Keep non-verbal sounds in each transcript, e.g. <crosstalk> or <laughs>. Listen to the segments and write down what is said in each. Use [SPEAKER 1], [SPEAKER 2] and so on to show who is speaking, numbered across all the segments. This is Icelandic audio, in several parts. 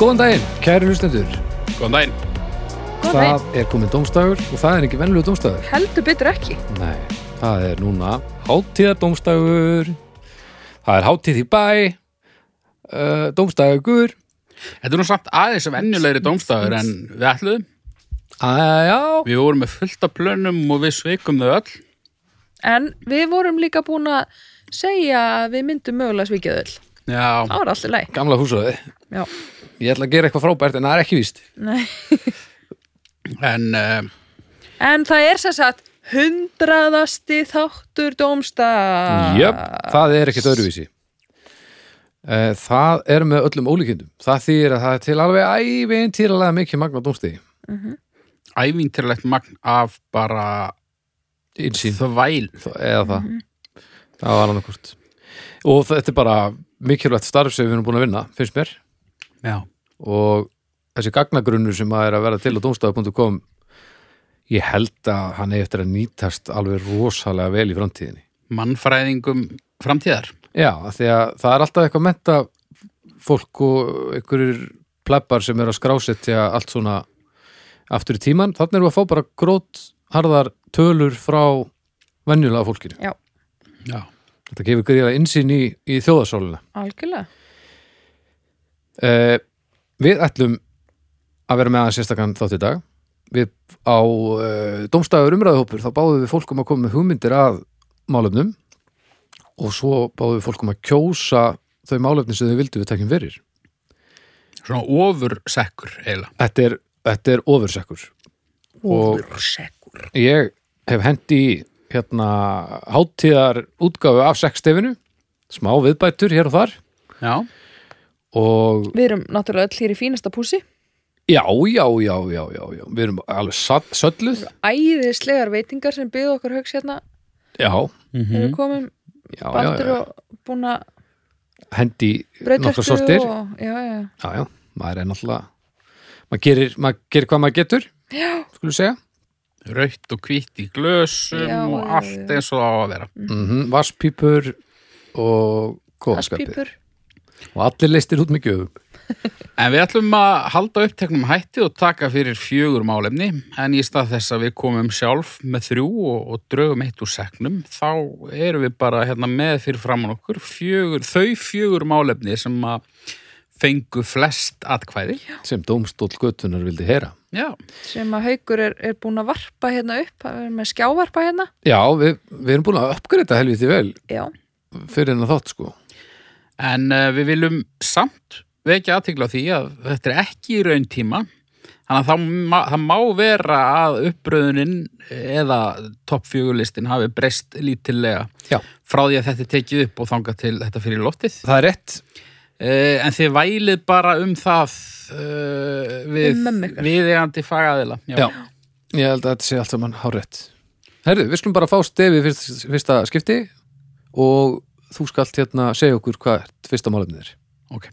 [SPEAKER 1] Góðan daginn, kæri hlustendur.
[SPEAKER 2] Góðan daginn.
[SPEAKER 3] Góðan
[SPEAKER 1] Það
[SPEAKER 3] veginn,
[SPEAKER 1] er komið dómstafur og það er ekki venlulegu dómstafur.
[SPEAKER 3] heldur betur ekki.
[SPEAKER 1] Nei, það er núna hátíðar dómstafur. Það er hátíð í bæ, uh, dómstafugur.
[SPEAKER 2] Þetta er nú samt aðeins venjulegri dómstafur en við ætluðum.
[SPEAKER 1] Æjá,
[SPEAKER 2] Við vorum með fullt af plönum og við sveikum þau öll.
[SPEAKER 3] En við vorum líka búin að segja að við myndum mögulega svíkja öll.
[SPEAKER 2] Já,
[SPEAKER 3] Það var alltaf leið.
[SPEAKER 1] gamla húsöði.
[SPEAKER 3] Já,
[SPEAKER 1] Ég ætla að gera eitthvað frábært en það er ekki víst.
[SPEAKER 3] nei.
[SPEAKER 2] en uh,
[SPEAKER 3] En það er sem sagt hundraðasti þáttur dómstaf.
[SPEAKER 1] Jöp, það er ekkert öðruvísi. Uh, það er með öllum ólíkindum. Það þýr að það er til alveg ævintýralega mikið magna dómstegi.
[SPEAKER 2] ævintýrlegt magn af bara
[SPEAKER 1] Insýn.
[SPEAKER 2] þvæl.
[SPEAKER 1] Þó- eða það það var annað hvort og þetta er bara mikilvægt starf sem við erum búin að vinna, finnst mér
[SPEAKER 2] Já.
[SPEAKER 1] og þessi gagnagrunnur sem að er að vera til á domstafu.com ég held að hann eigi eftir að nýtast alveg rosalega vel í framtíðinni
[SPEAKER 2] Mannfræðingum framtíðar.
[SPEAKER 1] já, af því að það er alltaf eitthvað menta fólk og einhverjir plebbar sem er að skrásetja allt svona aftur í tíman þannig erum við að fá bara grót harðar tölur frá venjulega fólkinu
[SPEAKER 3] Já,
[SPEAKER 2] Já.
[SPEAKER 1] þetta gefur gríða insýn í, í þjóðasálina
[SPEAKER 3] algjörlega.
[SPEAKER 1] Uh, við ætlum að vera með aðeins sérstakann þátt í dag við á uh, domstæður umræðahópur þá báðum við fólkum að koma með hugmyndir að málefnum og svo báðum við fólkum að kjósa þau málefni sem þau vildu við tekjum verir
[SPEAKER 2] Svona ofursekkur eiginlega.
[SPEAKER 1] þetta er, þetta er ofursekkur Og-
[SPEAKER 3] Ofursekkur.
[SPEAKER 1] ég hef hendi hérna hátíðar útgáfu af sextefinu smá viðbætur hér og þar
[SPEAKER 2] Já.
[SPEAKER 1] og
[SPEAKER 3] Við erum náttúrulega öll hér í fínasta púsi.
[SPEAKER 1] já, já, já, já, já, já. við erum alveg sall- sölluð
[SPEAKER 3] Æðislegar veitingar sem byggðu okkur högst hérna.
[SPEAKER 1] já,
[SPEAKER 2] Mm
[SPEAKER 3] Mm. Við komum
[SPEAKER 1] Mhm. já, já, já,
[SPEAKER 3] bandur og búin að
[SPEAKER 1] hendi nokkra
[SPEAKER 3] brauðtertu
[SPEAKER 1] sortir
[SPEAKER 3] og... Já, já, já.
[SPEAKER 1] já, já, maður er náttúrulega maður gerir, maður gerir hvað maður getur
[SPEAKER 3] Já.
[SPEAKER 1] skulum segja,
[SPEAKER 2] Raut og hvitt í glösum
[SPEAKER 3] Já,
[SPEAKER 2] og
[SPEAKER 3] já,
[SPEAKER 2] allt
[SPEAKER 3] já.
[SPEAKER 2] eins og það á að vera.
[SPEAKER 1] mm vaspípur og kóðaskapir
[SPEAKER 3] Hasspípur.
[SPEAKER 1] og allir leistir út með gjöfum
[SPEAKER 2] En við ætlum að halda uppteknum hætti og taka fyrir fjögur málefni en í stað þess að við komum sjálf með þrjú og, og draugum eitt úr seknum þá erum við bara hérna, með fyrir framann okkur fjögur, þau fjögur málefni sem að fengu flest atkvæði.
[SPEAKER 1] sem dómstóll göttunar vildi heyra
[SPEAKER 2] Já,
[SPEAKER 3] sem að haukur er, er búin að varpa hérna upp, að við erum með skjávarpa hérna
[SPEAKER 1] já, við, við erum búin að uppgreita helviti vel
[SPEAKER 3] já,
[SPEAKER 1] fyrir hennar þátt sko
[SPEAKER 2] en uh, við viljum samt vekja aðtikla því að þetta er ekki í raun tíma þannig að það má, það má vera að uppröðunin eh, eða topp fjögurlistin hafi breyst lítilega
[SPEAKER 1] já,
[SPEAKER 2] frá því að þetta er tekið upp og þangað til þetta fyrir loftið.
[SPEAKER 1] það er rétt
[SPEAKER 2] Uh, en þið vælið bara um það uh, við,
[SPEAKER 3] Um mömmu ykkar.
[SPEAKER 2] við eigandi fagaðila.
[SPEAKER 1] já, ég held að þetta sé allt saman hárétt herðu, við skulum bara fá stefið fyrst, fyrsta skipti og þú skalt hérna segja okkur hvað fyrsta málefnið er
[SPEAKER 2] Ok.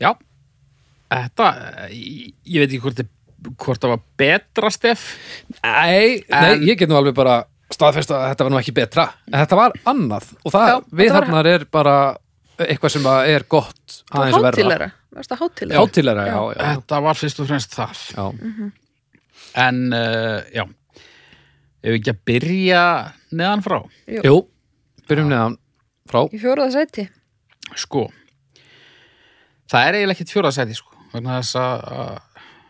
[SPEAKER 2] Já. Þetta, eh, ég, ég veit ekki hvort, þið- hvort það var betra stef.
[SPEAKER 1] Nei,
[SPEAKER 2] En-
[SPEAKER 1] nei, ég get nú alveg bara staðfest að þetta var nú ekki betra en þetta var annað og það
[SPEAKER 3] Já,
[SPEAKER 1] við
[SPEAKER 3] þetta var-
[SPEAKER 1] þarna er bara eitthvað sem að er gott aðeins verra
[SPEAKER 3] hátilæra varst það hátilæra
[SPEAKER 1] Hátilæra, já, já, já,
[SPEAKER 2] Þetta var fyrst og fremst það.
[SPEAKER 1] já.
[SPEAKER 2] En, uh, já, ef ekki að byrja neðan frá.
[SPEAKER 1] Jú, byrjum neðan frá
[SPEAKER 3] í fjóraða sæti
[SPEAKER 2] Sko, það er eiginlega ekkert fjóraðsæti, sko, vegna þess að, að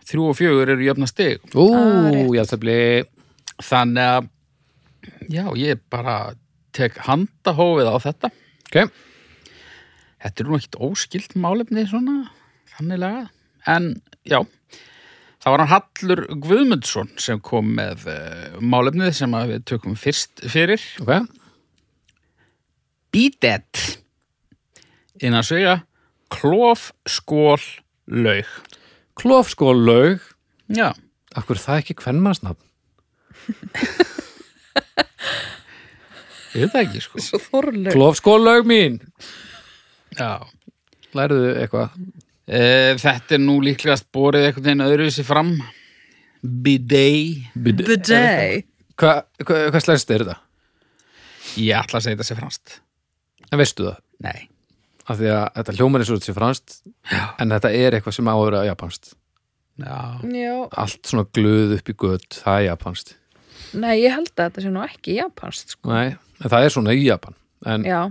[SPEAKER 2] þrjú og fjögur eru jöfna stig.
[SPEAKER 1] Ú,
[SPEAKER 3] Ah, rétt.
[SPEAKER 1] játtöfli
[SPEAKER 2] Þannig að, já, ég bara tek handahófið á þetta.
[SPEAKER 1] Ok,
[SPEAKER 2] Þetta eru nú ekkert óskilt málefni svona, þannig lagað. En, já, það var hann Hallur Guðmundsson sem kom með uh, málefnið sem að við tökum fyrst fyrir.
[SPEAKER 1] ok
[SPEAKER 2] Bídett, innan svega, klof, skól, laug.
[SPEAKER 1] Klofskólaug,
[SPEAKER 2] Já.
[SPEAKER 1] akkur það ekki kvenmannsnafn
[SPEAKER 2] Ég veit það ekki, sko. <laughs>
[SPEAKER 3] Svo þorleg
[SPEAKER 1] Klofskólaug mín
[SPEAKER 2] Já.
[SPEAKER 1] Læriðu eitthvað
[SPEAKER 2] Eh, Þetta er nú líklegast borið einhvern veginn öðruvísi fram. Bidet.
[SPEAKER 3] Bidet
[SPEAKER 1] Hva, hva, Hvað slæst er þetta?
[SPEAKER 2] Ég ætla að segja þetta sem franskt.
[SPEAKER 1] En veistu það?
[SPEAKER 2] Nei.
[SPEAKER 1] Af því að þetta hljómar eins og þetta sé franskt En þetta er eitthvað sem á að vera japanskt
[SPEAKER 2] Já.
[SPEAKER 3] Já,
[SPEAKER 1] Allt svona glöð upp í gött Það er japanskt
[SPEAKER 3] nei, ég held að þetta sé nú ekki japanskt sko.
[SPEAKER 1] Nei, en það er svona í Japan En
[SPEAKER 3] Já,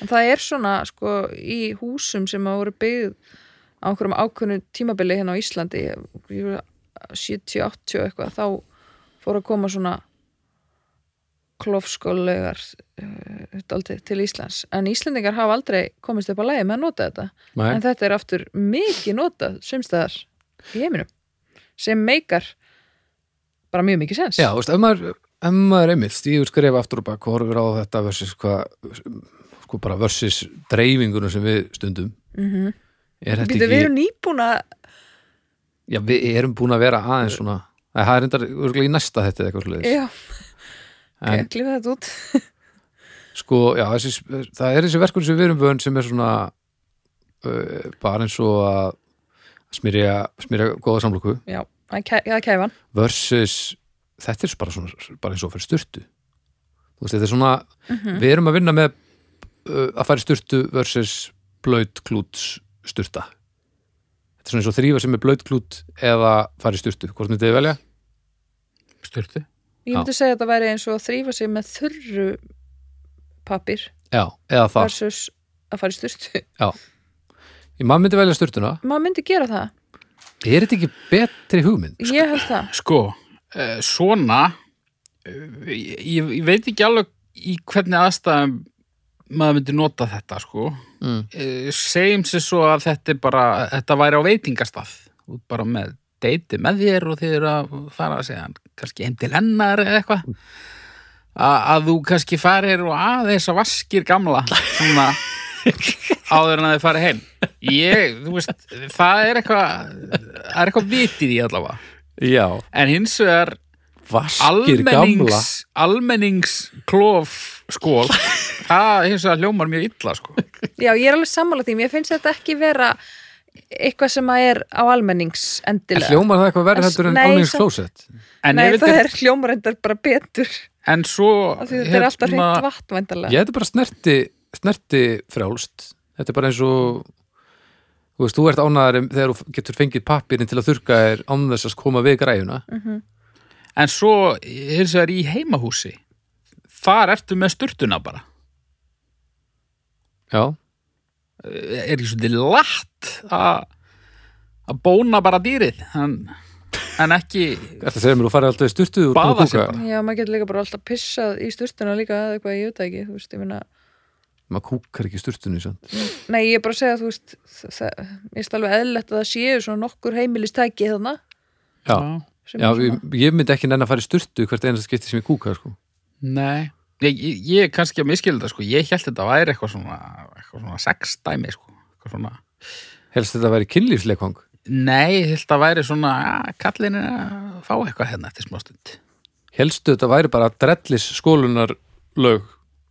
[SPEAKER 3] en það er svona sko í húsum sem að voru byggð á einhverjum ákveðnu tímabili hérna á Íslandi ég veit, 70-80 og eitthvað þá fór að koma svona klofskólegar uh, dálítið til Íslands en Íslandingar hafa aldrei komist upp að lægi með að nota þetta
[SPEAKER 1] Nei.
[SPEAKER 3] en þetta er aftur mikið notað sumstaðar í heiminum sem meikar bara mjög mikið sens
[SPEAKER 1] Já, þú veist, ef maður, ef maður einmitt stíður skref aftur og bak og horfir á þetta versus hvað sko bara versus dreifingunum sem við stundum -hmm. er þetta
[SPEAKER 3] Mhm. Býtu, við
[SPEAKER 1] ekki
[SPEAKER 3] erum nýbúna
[SPEAKER 1] já, við erum búin að vera aðeins svona Nei, það er reyndar örgulega í næsta þetta eitthvað sliðis
[SPEAKER 3] Já,
[SPEAKER 1] en
[SPEAKER 3] ok, klifið þetta út
[SPEAKER 1] sko, já, þessi, það er þessi verkun sem við erum vön sem er svona uh, bara eins og að smyrja, smyrja góða samlóku
[SPEAKER 3] Já, það er kæ- það er kæfan
[SPEAKER 1] versus þetta er bara, svona, bara eins og fyrir styrtu þú veist, þetta er svona
[SPEAKER 3] Mhm.
[SPEAKER 1] við erum að vinna með uh, að fara í styrtu versus blöyt klút styrta þetta er svona eins og þrýfa sem er blöyt klút eða fara í styrtu, hvort myndið þið velja?
[SPEAKER 2] Sturtu.
[SPEAKER 3] Ég myndi segja að þetta væri eins og að þrýfa sig með þurru pappir
[SPEAKER 1] Já, eða það,
[SPEAKER 3] versus að fara í styrtu
[SPEAKER 1] já ég maður myndi velja styrtuna,
[SPEAKER 3] <laughs> Maður myndi gera það,
[SPEAKER 1] er þetta ekki betri hugmynd?
[SPEAKER 3] ég held
[SPEAKER 1] <laughs>
[SPEAKER 3] það
[SPEAKER 2] Sko, eh, svona, eh, ég, ég ég veit ekki alveg í hvernig aðstæðum maður myndi nota þetta, sko.
[SPEAKER 1] Mm.
[SPEAKER 2] Eh, Segjum sér svo að þetta, er bara, þetta væri á veitingastað. Út bara með deiti með þér og þið eru að fara að segja kannski heim til hennar eða eitthvað. A- Að þú kannski farir og aðeins að vaskir gamla svona áður en að þið farið heim. Ég, þú veist, það er eitthvað, það er eitthvað vitið í allavega.
[SPEAKER 1] Já,
[SPEAKER 2] En hins vegar
[SPEAKER 1] vaskir gamla
[SPEAKER 2] almennings, almennings klof
[SPEAKER 1] <laughs>
[SPEAKER 2] skól, það hins vegar hljómar mjög illa sko.
[SPEAKER 3] Já, ég er alveg sammála því, mér finnst þetta ekki vera eitthvað sem að er á almennings
[SPEAKER 1] En
[SPEAKER 3] endilega
[SPEAKER 1] hljómar það eitthvað verður
[SPEAKER 3] En-
[SPEAKER 1] heldur en
[SPEAKER 3] nei,
[SPEAKER 1] alveg
[SPEAKER 3] samt-
[SPEAKER 1] klósett
[SPEAKER 2] En,
[SPEAKER 3] Nei,
[SPEAKER 2] ef
[SPEAKER 3] það
[SPEAKER 2] þetta
[SPEAKER 3] er hljómarendar bara betur af
[SPEAKER 2] en svo
[SPEAKER 3] því þetta er alltaf
[SPEAKER 2] hérna,
[SPEAKER 3] hreint vatn væntanlega
[SPEAKER 1] Ég þetta er bara snerti, snerti frjálst Þetta er bara eins og þú veist, þú ert ánæðar þegar þú getur fengið pappirinn til að þurka þér án þess að koma við græjuna
[SPEAKER 2] en svo hins vegar í heimahúsi þar ertu með sturtuna bara
[SPEAKER 1] Já,
[SPEAKER 2] er ekki svolítið latt að að bóna bara dýrið en, en ekki
[SPEAKER 1] þetta segir mér, þú farið alltaf í sturtu þú ert
[SPEAKER 2] Baða
[SPEAKER 1] búin að
[SPEAKER 2] sig
[SPEAKER 1] kúka.
[SPEAKER 2] bara.
[SPEAKER 3] Já, maður getur líka bara alltaf pissað í styrtuna líka eða eitthvað, ég veit það ekki, þú veist, ég meina
[SPEAKER 1] Maður kúkar ekki í sturtunni samt.
[SPEAKER 3] Nei, ég er bara að segja, þú veist, það, það, ég veist alveg eðlilegt að það séu svona nokkur heimilistæki þarna.
[SPEAKER 1] Já,
[SPEAKER 3] sem
[SPEAKER 1] já
[SPEAKER 3] er svona-
[SPEAKER 1] ég, ég myndi ekki nenni að fara í sturtu hvert einast skipti sem ég kúka sko.
[SPEAKER 2] nei ég, ég, ég er kannski að miskilja þetta sko ég held þetta væri eitthvað svona, eitthvað svona sex dæmi sko eitthvað svona
[SPEAKER 1] Helst þetta að vera í kynlífsleikvang
[SPEAKER 2] Nei, ég held að væri svona að kallin er að fá eitthvað hérna eftir smástund.
[SPEAKER 1] Helstu þetta væri bara drellis skólunar lög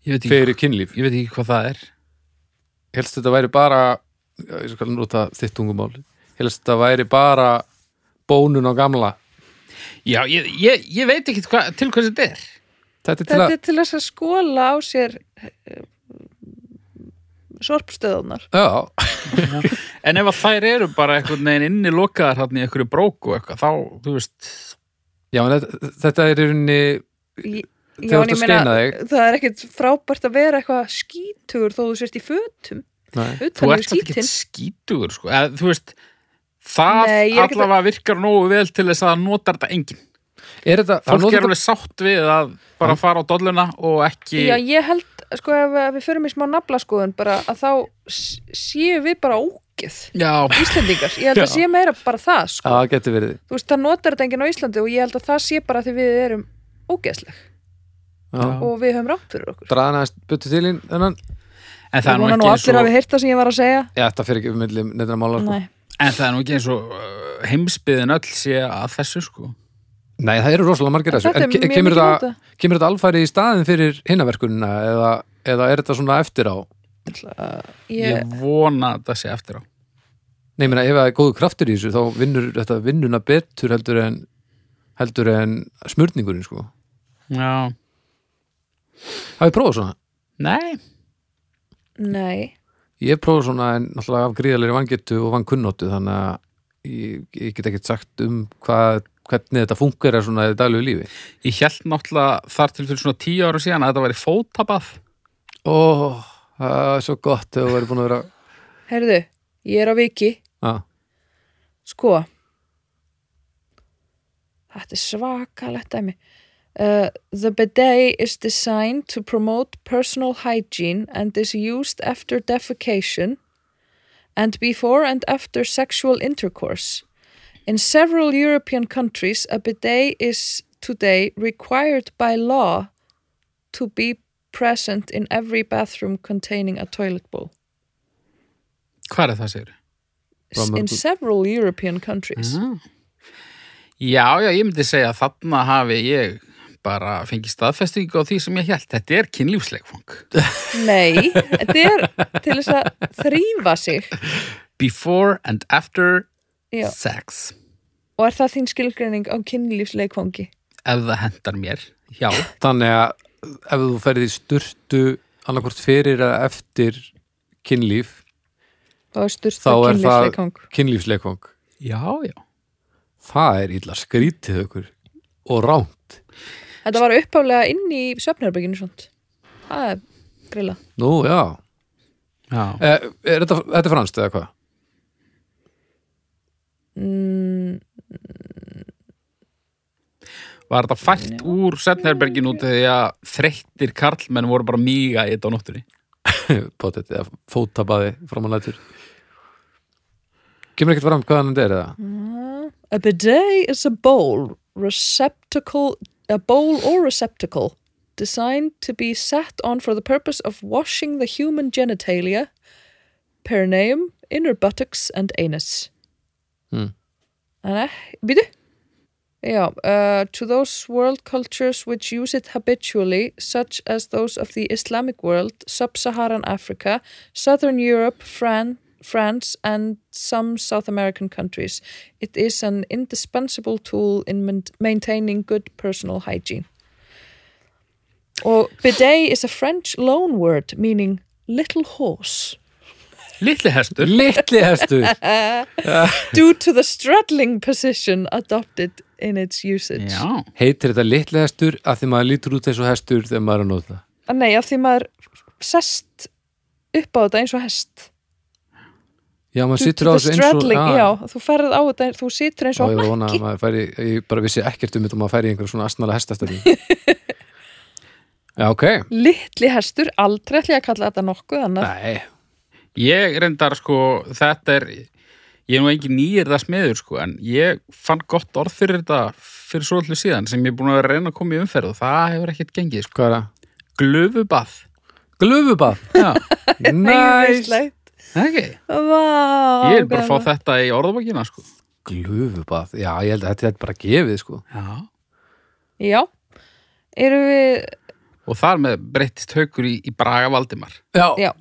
[SPEAKER 2] Ég veit ekki,
[SPEAKER 1] fyrir kynlíf
[SPEAKER 2] ég veit ekki hvað það er.
[SPEAKER 1] helst þetta væri bara já, ég skal nota þitt tungumál helst þetta væri bara bónun á gamla
[SPEAKER 2] Já, ég, ég, ég veit ekki hva, til hvað þetta er.
[SPEAKER 1] þetta er til
[SPEAKER 3] Þetta
[SPEAKER 1] að,
[SPEAKER 3] er til þess að skóla á sér eh, sorpstöðunar.
[SPEAKER 1] já,
[SPEAKER 2] En ef að þær eru bara einhvern veginn inni lokaðar hann í einhverju bróku eitthvað, þá, þú veist,
[SPEAKER 1] já en þetta, þetta er í rauninni Þegar
[SPEAKER 3] Þegar
[SPEAKER 1] þú ert að skeina þig.
[SPEAKER 3] það er ekkit frábært að vera eitthvað skítugur þó þú sért í fötum.
[SPEAKER 1] nei,
[SPEAKER 2] þú
[SPEAKER 3] Utan
[SPEAKER 2] ert
[SPEAKER 3] við
[SPEAKER 2] samt ekki
[SPEAKER 3] skítin.
[SPEAKER 2] skítugur, sko. Eð, þú veist, það
[SPEAKER 3] Nei, ég er ekki
[SPEAKER 2] allavega virkar nógu vel til þess að það notar þetta enginn.
[SPEAKER 1] er þetta, það
[SPEAKER 2] Fólk
[SPEAKER 1] notar
[SPEAKER 2] er alveg sátt við að bara fara á dolluna og ekki...
[SPEAKER 3] Já, ég held, sko, ef ef við förum í smá naflaskoðun bara að þá s- séu við bara ógeð.
[SPEAKER 2] Já,
[SPEAKER 3] Íslendingar, ég held að sé meira bara það, sko.
[SPEAKER 1] það getur verið
[SPEAKER 3] Þú veist, það notar þetta enginn á Íslandi og ég held að það sé bara því við erum ógeðsleg
[SPEAKER 1] já.
[SPEAKER 3] og við höfum rátt fyrir okkur.
[SPEAKER 1] draðan aðeins byttu til hinn þennan,
[SPEAKER 2] en það
[SPEAKER 3] Það
[SPEAKER 2] er nú
[SPEAKER 3] vona nú
[SPEAKER 2] ekki eins
[SPEAKER 3] allir
[SPEAKER 2] og...
[SPEAKER 3] hafi heyrt það sem ég var að segja
[SPEAKER 1] já, þetta fyrir ekki um milli neittna mála sko.
[SPEAKER 3] Nei.
[SPEAKER 2] En það er nú ekki eins og uh, heimsbyðin öll sé að þessu sko.
[SPEAKER 1] Nei, það eru rosalega margir af þessu.
[SPEAKER 3] Þetta er
[SPEAKER 1] En ke-
[SPEAKER 3] mjög
[SPEAKER 1] kemur
[SPEAKER 3] mikil
[SPEAKER 1] þetta,
[SPEAKER 3] nota.
[SPEAKER 1] kemur þetta alfæri í staðin fyrir hinnaverkunina eða, eða er þetta svona eftir á?
[SPEAKER 3] ég,
[SPEAKER 2] Ég vona að það sé eftir á.
[SPEAKER 1] Nei, ég meina, ef það er góðu kraftur í þessu þá vinnur þetta vinnuna betur heldur en heldur en smörningurinn sko.
[SPEAKER 2] Já.
[SPEAKER 1] Hafið prófað svona?
[SPEAKER 2] Nei.
[SPEAKER 3] nei
[SPEAKER 1] Ég prófað svona en náttúrulega af gríðalegri vangetu og vankunnóttu þannig að ég, ég get ekkert sagt um hvað, hvernig þetta funkar svona í daglegu lífi.
[SPEAKER 2] Ég held náttúrulega þar til fyrir svona tíu ára síðan að þetta væri fótabað.
[SPEAKER 1] Ó, það er svo gott þegar þú verður búin að <laughs> vera
[SPEAKER 3] herðu, ég er á viki
[SPEAKER 1] að,
[SPEAKER 3] sko þetta er svakalegt dæmi uh, the bidet is designed to promote personal hygiene and is used after defecation and before and after sexual intercourse in several European countries a bidet is today required by law to be present in every bathroom containing a toilet bowl
[SPEAKER 2] Hvað er það, segir?
[SPEAKER 1] Frá mörgum-
[SPEAKER 3] in several European countries
[SPEAKER 2] Já, já, ég myndi segja að þarna hafi ég bara fengið staðfestingu á því sem ég held. Þetta er kynlífsleikfang.
[SPEAKER 3] Nei, þetta er til þess að þrýfa sig
[SPEAKER 2] Before and after
[SPEAKER 3] Já.
[SPEAKER 2] sex.
[SPEAKER 3] og er það þín skilgreining á kynlífsleikvangi
[SPEAKER 2] Ef það hendar mér. Já.
[SPEAKER 1] þannig að ef þú ferði í sturtu annarkvort fyrir eða eftir kynlíf,
[SPEAKER 3] þá er sturt
[SPEAKER 1] þá
[SPEAKER 3] á
[SPEAKER 1] er það
[SPEAKER 3] kynlífsleikvang
[SPEAKER 1] kynlífsleikvang
[SPEAKER 2] <laughs> Já, já.
[SPEAKER 1] það er illa skrítið okkur og rámt
[SPEAKER 3] Þetta var uppálega inn í svefnherbygginu svont Það er grilla
[SPEAKER 1] nú já,
[SPEAKER 2] Já.
[SPEAKER 1] er, er þetta, þetta er franskt eða hvað?
[SPEAKER 3] mm,
[SPEAKER 2] Var þetta fært úr Setnerbergin út af því að þreyttir karlmenn voru bara mýga í þetta á nóttunni?
[SPEAKER 1] Pottet, eða fótabaði fram að lætur kemur ekkert fram hvaðan þetta er eða?
[SPEAKER 3] A bidet is a bowl receptacle a bowl or receptacle designed to be sat on for the purpose of washing the human genitalia perineum, inner buttocks and anus eh,
[SPEAKER 1] Hmm.
[SPEAKER 3] Þannig, býtu Já, uh, to those world cultures which use it habitually, such as those of the Islamic world, sub-Saharan Africa, southern Europe, Fran France and some South American countries. It is an indispensable tool in main- maintaining good personal hygiene. Or bidet is a French loan word meaning little horse.
[SPEAKER 2] Litli hestur.
[SPEAKER 1] litli hestur
[SPEAKER 3] due to the straddling position adopted in its usage
[SPEAKER 2] Já.
[SPEAKER 1] heitir þetta litli hestur að því maður lítur út eins og hestur þegar maður er að nota það.
[SPEAKER 3] að nei, af því maður sest upp á þetta eins og hest
[SPEAKER 1] já, maður
[SPEAKER 3] Due
[SPEAKER 1] situr á
[SPEAKER 3] to the
[SPEAKER 1] þessu eins og
[SPEAKER 3] straddling, já, þú ferð á þetta þú situr eins
[SPEAKER 1] Já,
[SPEAKER 3] og
[SPEAKER 1] ég vona að
[SPEAKER 3] makki
[SPEAKER 1] maður færi, ég bara vissi ekkert um þetta að maður færi í einhverjum svona asnala hestastæði Já, ok
[SPEAKER 3] litli hestur, aldrei ætli ég að kalla þetta nokkuð annað
[SPEAKER 1] Nei,
[SPEAKER 2] Ég reyndar sko, þetta er, ég er nú engin nýjir það smiður sko, en ég fann gott orð fyrir þetta fyrir svo allir síðan sem ég er búin að vera að reyna að koma í umferð og það hefur ekkert gengið sko.
[SPEAKER 1] hvað er það?
[SPEAKER 2] Glöfubað.
[SPEAKER 3] <laughs>
[SPEAKER 1] Glöfubað
[SPEAKER 2] <laughs> Já,
[SPEAKER 1] Næs
[SPEAKER 2] ekki.
[SPEAKER 3] Vá,
[SPEAKER 2] Ég er bara að fá þetta í orðabakina sko.
[SPEAKER 1] Glöfubað, já, ég held að þetta er bara gefið sko.
[SPEAKER 2] Já.
[SPEAKER 3] já, erum við
[SPEAKER 2] Og þar með breyttist haukur í, í Braga Valdimar.
[SPEAKER 1] Já,
[SPEAKER 3] já,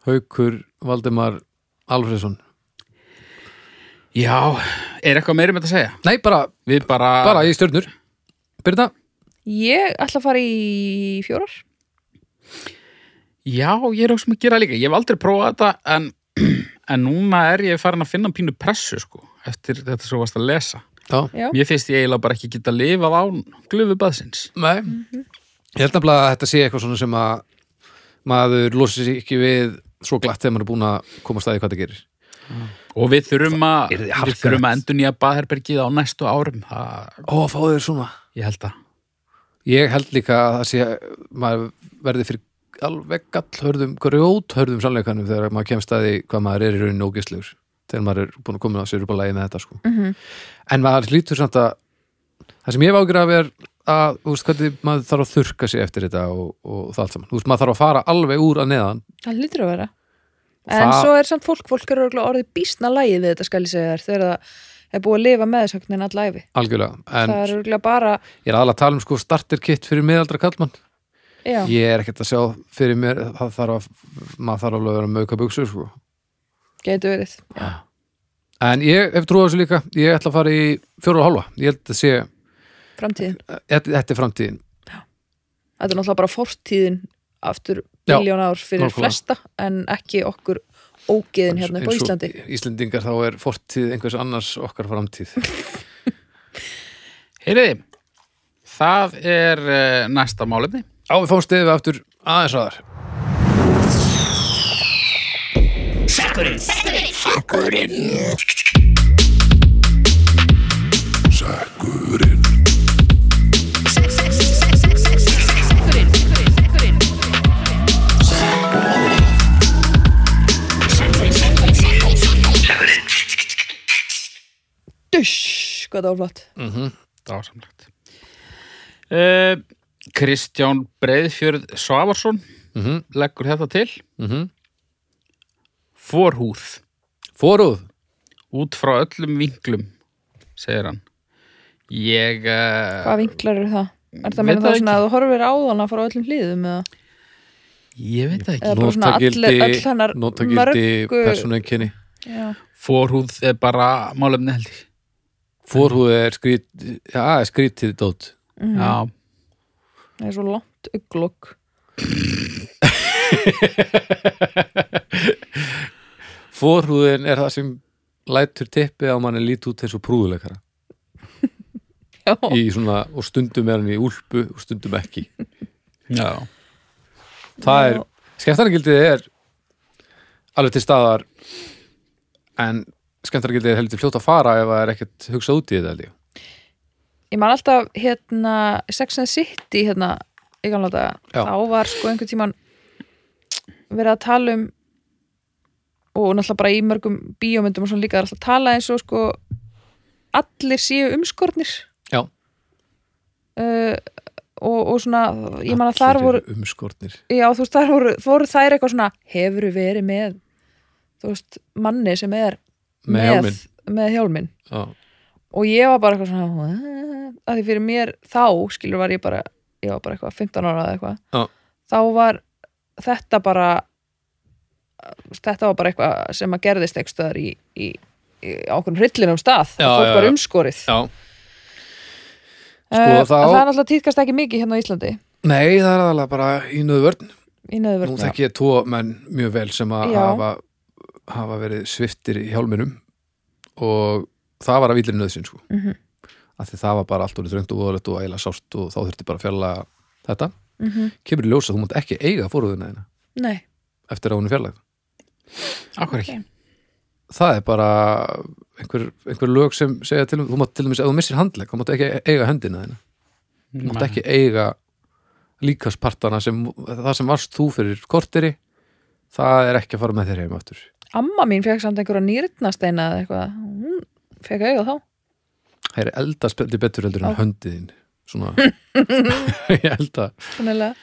[SPEAKER 1] Haukur Valdimar Alfredsson
[SPEAKER 2] Já, er eitthvað meira með þetta að segja?
[SPEAKER 1] Nei, bara,
[SPEAKER 2] Við bara...
[SPEAKER 1] bara í stjörnur Byrna,
[SPEAKER 3] ég ætla að fara í fjórar
[SPEAKER 2] Já, ég er ósum að gera það líka. Ég hef aldrei prófað þetta en, <clears throat> en núna er ég farin að finna pínu pressu sko eftir þetta svo varst að lesa.
[SPEAKER 1] já,
[SPEAKER 3] já,
[SPEAKER 2] Mér finnst ég eiginlega bara ekki geta lifað á glöfu baðsins.
[SPEAKER 1] nei Ég held nefnilega að þetta sé eitthvað svona sem að maður losir sig ekki við svo glatt þegar maður er búin að koma staði hvað það gerir
[SPEAKER 2] Og við þurfum að
[SPEAKER 1] yrði
[SPEAKER 2] við
[SPEAKER 1] harkalegt.
[SPEAKER 2] þurfum að endur nýja baðherbergið á næstu árum. Það,
[SPEAKER 1] Ó, fá þér svona
[SPEAKER 2] ég held að.
[SPEAKER 1] Ég held líka að það sé að maður verði fyrir alveg gallhörðum, grjóthörðum sannleikanum þegar maður kemst að því hvað maður er í rauninni ógislegur þegar maður er búin að koma að sér upp að lægi með þetta sko.
[SPEAKER 3] Mhm.
[SPEAKER 1] en maður lítur samt að það sem ég vágjur af er að þú veist, hvernig maður þarf að þurka sig eftir þetta og, og það allt saman, Þú veist, maður þarf að fara alveg úr að neðan
[SPEAKER 3] það lítur að vera En
[SPEAKER 1] Það-
[SPEAKER 3] svo er samt fólk, fólk eru örugglega orðið býstna lægið við þetta skal ég segja þér þegar það er búið að lifa með þessögnin allæfi
[SPEAKER 1] algjörlega, en
[SPEAKER 3] það er örgulega bara
[SPEAKER 1] ég er aðalega að tala um sko starter kit fyrir miðaldra kallmann
[SPEAKER 3] já,
[SPEAKER 1] ég er ekkert að sjá fyrir mér það þarf að, maður þarf alveg að vera mögka buksur sko.
[SPEAKER 3] getur verið
[SPEAKER 1] en ég hef trúið þessu líka ég ætla að fara í fjóra og hálfa ég held að sé,
[SPEAKER 3] framtíðin,
[SPEAKER 1] þetta, þetta er framtíðin
[SPEAKER 3] þetta er náttúrulega bara fortíðin aftur
[SPEAKER 1] Já,
[SPEAKER 3] miljón ár fyrir
[SPEAKER 1] nákvæmlega.
[SPEAKER 3] flesta en ekki okkur ógeðin hérna upp á
[SPEAKER 1] Eins og
[SPEAKER 3] Íslandi
[SPEAKER 1] Íslendingar þá er fortíð einhvers annars okkar framtíð
[SPEAKER 2] Heyriði, það er eh, næsta málefni.
[SPEAKER 1] á við fáum stefið aftur aðeins aðar
[SPEAKER 3] dusch, hvað það var flott
[SPEAKER 2] Dásamlegt. Uh, Kristján Breiðfjörð Svavarsson
[SPEAKER 1] mm -hmm,
[SPEAKER 2] leggur þetta til.
[SPEAKER 1] mhm.
[SPEAKER 2] Forhúð,
[SPEAKER 1] Fóruð,
[SPEAKER 2] út frá öllum vinglum, segir hann. Ég... Uh,
[SPEAKER 3] hvað vinklar eru það? Er
[SPEAKER 2] Veit
[SPEAKER 3] það meina
[SPEAKER 2] það
[SPEAKER 3] það svona
[SPEAKER 2] ekki.
[SPEAKER 3] að þú horfir á hana frá öllum hlýðum eða?
[SPEAKER 2] Ég veit það ekki.
[SPEAKER 3] Eða bara svona allir, öll hennar
[SPEAKER 1] notagildi
[SPEAKER 3] mörgu-
[SPEAKER 1] persónuenginni
[SPEAKER 3] Já,
[SPEAKER 2] Forhúð er bara málefni held ég.
[SPEAKER 1] Fórhúð er skrít, ja, er skrítið dót
[SPEAKER 2] Já.
[SPEAKER 3] það er svo langt uglokk
[SPEAKER 1] Fórhúðin er það sem lætur tippið á manni lít út eins og prúðuleikara
[SPEAKER 3] Já,
[SPEAKER 1] í svona, og stundum er hann í úlpu og stundum ekki
[SPEAKER 2] Já.
[SPEAKER 1] það er, skemmtarnagildið er alveg til staðar en skemmtarnagildið er heldur fljótt að fara ef það er ekkert hugsað út í þetta held ég.
[SPEAKER 3] ég man alltaf hérna Sex and the City hérna í gamla daga,
[SPEAKER 1] Já.
[SPEAKER 3] þá var sko einhvern tíman verið að tala um og náttúrulega bara í mörgum bíómyndum og svona líka það er alltaf að tala eins og sko allir séu umskornir
[SPEAKER 1] Já.
[SPEAKER 3] uh, og, og svona ég man að þar
[SPEAKER 1] Allir
[SPEAKER 3] voru
[SPEAKER 1] eru umskornir
[SPEAKER 3] já þú veist þar voru, voru þær eitthvað svona hefuru verið með þú veist manni sem er
[SPEAKER 1] með hjálminn
[SPEAKER 3] með hjálmin
[SPEAKER 1] Já.
[SPEAKER 3] og ég var bara eitthvað svona "What?" að því fyrir mér þá skilur var ég bara ég var bara eitthvað 15 ára eða eitthvað
[SPEAKER 1] Já.
[SPEAKER 3] þá var þetta bara þetta var bara eitthvað sem að gerðist eitthvað stöðar í, í, í ákveðin hryllinum stað
[SPEAKER 1] Já,
[SPEAKER 3] að
[SPEAKER 1] já,
[SPEAKER 3] fólk
[SPEAKER 1] já.
[SPEAKER 3] var umskorið
[SPEAKER 1] Já.
[SPEAKER 3] Eh,
[SPEAKER 1] Sko,
[SPEAKER 3] en
[SPEAKER 1] þá-
[SPEAKER 3] það er alltaf tíðkast ekki mikið hérna á Íslandi
[SPEAKER 1] Nei, það er aðalega bara í nöðvörn
[SPEAKER 3] í
[SPEAKER 1] Nú
[SPEAKER 3] nöðvörn
[SPEAKER 1] þekki ég tvo menn mjög vel sem að
[SPEAKER 3] Já.
[SPEAKER 1] hafa, hafa verið sviftir í hjálminum og það var að villri nöðsinn sko. mm
[SPEAKER 3] Mhm.
[SPEAKER 1] því það var bara allt úr þröngt og voðalegt og eiginlega sást og þá þurfti bara að fjalla þetta.
[SPEAKER 3] mm
[SPEAKER 1] Kemur í ljósa, þú mútt ekki eiga fóruðuna þeina
[SPEAKER 3] nei,
[SPEAKER 1] eftir að hún er fjallag.
[SPEAKER 2] Akkur ekki.
[SPEAKER 1] Það er bara einhver, einhver lög sem segja til um, þú mátt til dæmis, ef þú missir handleg, þú mátt ekki eiga höndina þeina. Þú mátt ekki eiga líkaspartana sem, það sem varst þú fyrir korteri, það er ekki að fara með þér heim aftur.
[SPEAKER 3] amma mín fekk samt einhverja nýrnasteina eða eitthvað hún fekk auðvitað þá
[SPEAKER 1] Það er eldast betur, betur heldur en
[SPEAKER 3] Já.
[SPEAKER 1] höndiðin Svona Ég held að
[SPEAKER 3] Sannilega.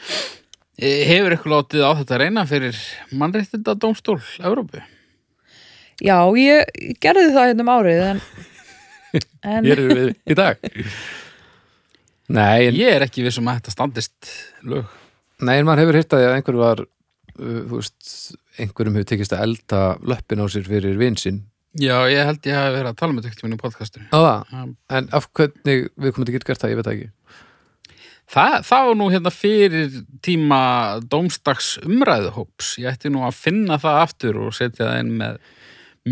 [SPEAKER 2] Eh, Hefur ykkur látið á þetta að reyna fyrir mannréttinda dómstól Evrópu?
[SPEAKER 3] já, ég ég gerði það hérna um árið
[SPEAKER 1] <laughs>
[SPEAKER 3] en, en
[SPEAKER 1] Hér eru við í dag Nei, en,
[SPEAKER 2] Ég er ekki við sem að þetta standist lög.
[SPEAKER 1] nei, en maður hefur hýrt að einhver var uh, þú veist, einhverjum hefur tekist að elda löppin á sér fyrir vinsinn
[SPEAKER 2] Já, ég held ég hafi verið að tala með töktum í podcastinu.
[SPEAKER 1] Á það,
[SPEAKER 2] Um,
[SPEAKER 1] en af hvernig við komum til að geta gert það, ég veit það ekki
[SPEAKER 2] Það, það var nú hérna fyrir tíma dómstags umræðuhóps. Ég ætti nú að finna það aftur og setja það inn með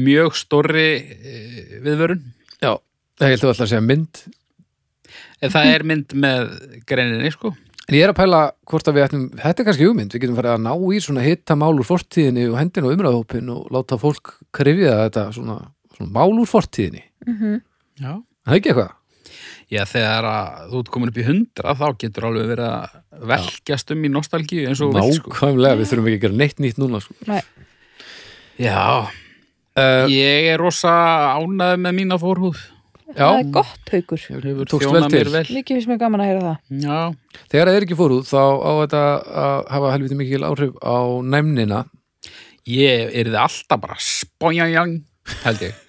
[SPEAKER 2] mjög stórri eh, viðvörun.
[SPEAKER 1] Já, ég held þú alltaf að segja mynd
[SPEAKER 2] En það er mynd með greininni, sko.
[SPEAKER 1] En ég er að pæla hvort að við ætlum, þetta er kannski hugmynd, við getum farið að ná í svona hitta mál úr fortíðinni og hendina og umræðhópin og láta fólk krifja þetta svona, svona mál úr fortíðinni.
[SPEAKER 3] Mhm.
[SPEAKER 2] Já.
[SPEAKER 1] Er Það er ekki eitthvað?
[SPEAKER 2] Já, þegar að þú ert komin upp í hundra, þá getur alveg verið að velkjast um í nostalgíu eins og þú vilt, sko.
[SPEAKER 1] Nákvæmlega, við þurfum ekki að gera neitt nýtt núna sko.
[SPEAKER 3] Nei,
[SPEAKER 2] Já,
[SPEAKER 1] uh,
[SPEAKER 2] Ég er rosa ánæði með mína fórhúð.
[SPEAKER 3] það
[SPEAKER 1] Já,
[SPEAKER 3] er gott haukur
[SPEAKER 2] Hefur
[SPEAKER 1] Tókst
[SPEAKER 2] þjónað
[SPEAKER 1] vel til.
[SPEAKER 2] mér vel.
[SPEAKER 3] Mikið finnst mér gaman að heyra það
[SPEAKER 2] Já,
[SPEAKER 1] þegar það er ekki fóruð þá á þetta að hafa helviti mikil áhrif á næmnina
[SPEAKER 2] ég er þið alltaf bara spójanjang, held ég.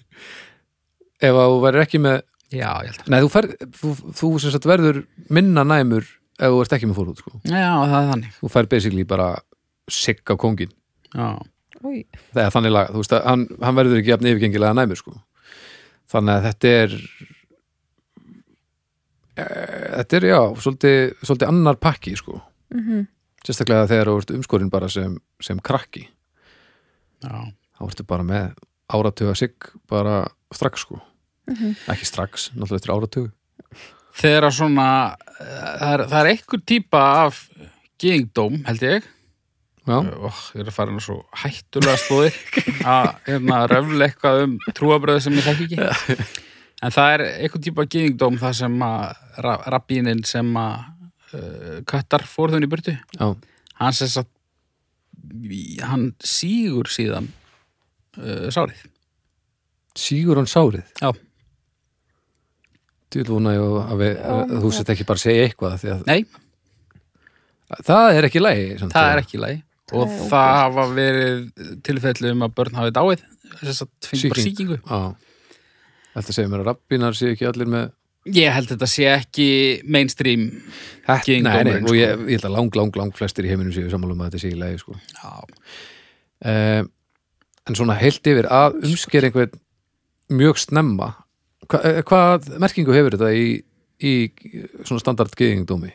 [SPEAKER 1] ef að þú verður ekki með
[SPEAKER 2] <laughs> Já, ég held að.
[SPEAKER 1] nei, þú, fer, þú, þú sem sagt verður minna næmur ef þú ert ekki með fórhúð sko.
[SPEAKER 2] Já, það er þannig.
[SPEAKER 1] þú fær basically bara sigg á kongin
[SPEAKER 2] Já.
[SPEAKER 3] Új,
[SPEAKER 1] þegar þannig laga, þú veist að hann, hann verður ekki jafn yfirgengilega næmur sko þannig að þetta er eh, þetta er já svolítið, svolítið annar pakki sko
[SPEAKER 3] Mhm.
[SPEAKER 1] sérstaklega þegar þú ert umskorinn bara sem, sem krakki
[SPEAKER 2] Já.
[SPEAKER 1] þá ertu bara með áratuga sigg bara strax sko ekki strax, náttúrulega eftir áratugu
[SPEAKER 2] Þegar að svona, eh, það er, það er einhver típa af geðingdóm, held ég.
[SPEAKER 1] já,
[SPEAKER 2] Oh, ég er að fara nú svo hættulega <laughs> slóðir að hérna, röfla eitthvað um trúabröðu sem ég þekki ekki en það er eitthvað típa gyðingdóm það sem að ra rabbinin sem að uh, köttar fórðun í burtu
[SPEAKER 1] já,
[SPEAKER 2] hann sem satt hann sígur síðan uh, sárið
[SPEAKER 1] sígur hann sárið
[SPEAKER 2] Já.
[SPEAKER 1] Þú vona ég að, við, að þú sett ekki bara að segja eitthvað því að
[SPEAKER 2] nei,
[SPEAKER 1] það er ekki lægi samt,
[SPEAKER 2] það er ekki í lagi og
[SPEAKER 3] Það er
[SPEAKER 2] það hafa verið tilfelli um að börn hafi dáið sem satt fengi bara
[SPEAKER 1] Sýking.
[SPEAKER 2] síkingu
[SPEAKER 1] Já. Þetta segir mér að rabbinar séu ekki allir með
[SPEAKER 2] ég held þetta sé ekki mainstream
[SPEAKER 1] Þetta, nei, nei,
[SPEAKER 2] Gyðingdómurinn,
[SPEAKER 1] og ég, ég held að lang, lang, lang flestir í heiminum séu sammálum að þetta séu í lægi sko.
[SPEAKER 2] já,
[SPEAKER 1] um, En svona heilt yfir að umsker einhvern mjög snemma hva, eh, Hvað merkingu hefur þetta í, í svona standard gyðingdómi?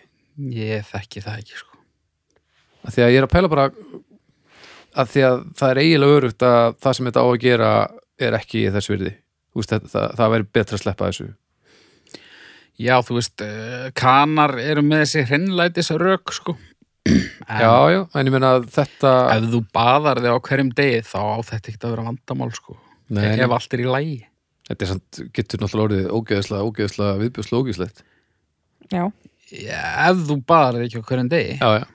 [SPEAKER 2] ég þekki það ekki sko
[SPEAKER 1] að því að ég er að pæla bara að því að það er eiginlega örugt að það sem þetta á að gera er ekki í þess virði Úst, það, það, það væri betra að sleppa þessu
[SPEAKER 2] Já, þú veist, eh, kanar eru með þessi hreinlætis rök, sko. En
[SPEAKER 1] já, já, en ég meina að þetta
[SPEAKER 2] Ef þú baðar þig á hverjum degi, þá á þetta ekkert að vera vandamál, sko.
[SPEAKER 1] Nei,
[SPEAKER 2] ef
[SPEAKER 1] nei.
[SPEAKER 2] allt er í lægi.
[SPEAKER 1] þetta er samt, getur náttúrulega orðið ógeðslega, ógeðslega viðbjörslega ógeðslegt
[SPEAKER 3] já,
[SPEAKER 2] Já, ef þú baðar þig ekki á hverjum degi.
[SPEAKER 1] já, já.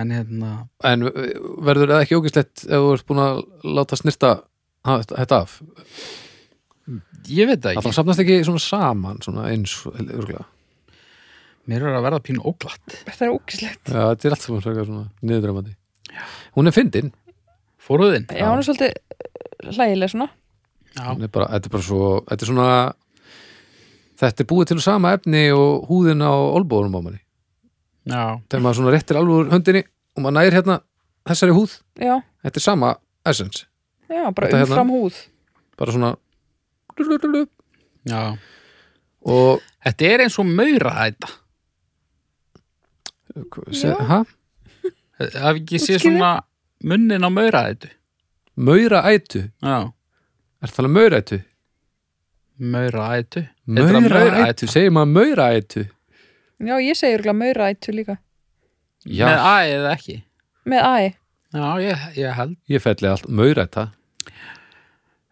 [SPEAKER 2] En hérna,
[SPEAKER 1] en eh, verður það ekki ógeðslegt ef þú ert búin að láta snirta ha- þetta af
[SPEAKER 2] ég veit það
[SPEAKER 1] það
[SPEAKER 2] ekki.
[SPEAKER 1] safnast ekki svona saman svona eins, örgulega
[SPEAKER 2] Mér er að verða pínu óglatt.
[SPEAKER 3] þetta er ókislegt
[SPEAKER 1] já, þetta er allt saman frekar svona niðurdramandi hún er fyndin,
[SPEAKER 2] Fóruðinn?
[SPEAKER 3] Já, hún er svolítið eh, hlægileg svona
[SPEAKER 2] Já.
[SPEAKER 1] Hún er bara, þetta er bara svo þetta er svona þetta er búið til sama efni og húðin á olbóðunum á manni
[SPEAKER 2] Já.
[SPEAKER 1] þegar maður svona réttir alveg úr höndinni og maður nægir hérna þessari húð
[SPEAKER 3] Já,
[SPEAKER 1] þetta er sama essence
[SPEAKER 3] já, bara
[SPEAKER 1] Þetta hérna.
[SPEAKER 3] umfram húð
[SPEAKER 1] bara svona lulululu.
[SPEAKER 2] Já.
[SPEAKER 1] og
[SPEAKER 2] Þetta er eins og maura þetta.
[SPEAKER 1] se,
[SPEAKER 3] Já.
[SPEAKER 1] ha?
[SPEAKER 2] Það ekki sé
[SPEAKER 3] Útskýrðu.
[SPEAKER 2] svona munnin á maura þetta.
[SPEAKER 1] maura ætu,
[SPEAKER 2] Já.
[SPEAKER 1] er það um maura ætu?
[SPEAKER 2] Maura þetta.
[SPEAKER 1] maura ætu, segir maður maura ætu
[SPEAKER 3] Já, ég segi örgulega maurættu líka
[SPEAKER 1] já,
[SPEAKER 2] Með A eða ekki.
[SPEAKER 3] Með E. æ,
[SPEAKER 2] Já, ég, ég held.
[SPEAKER 1] ég felli allt maura æta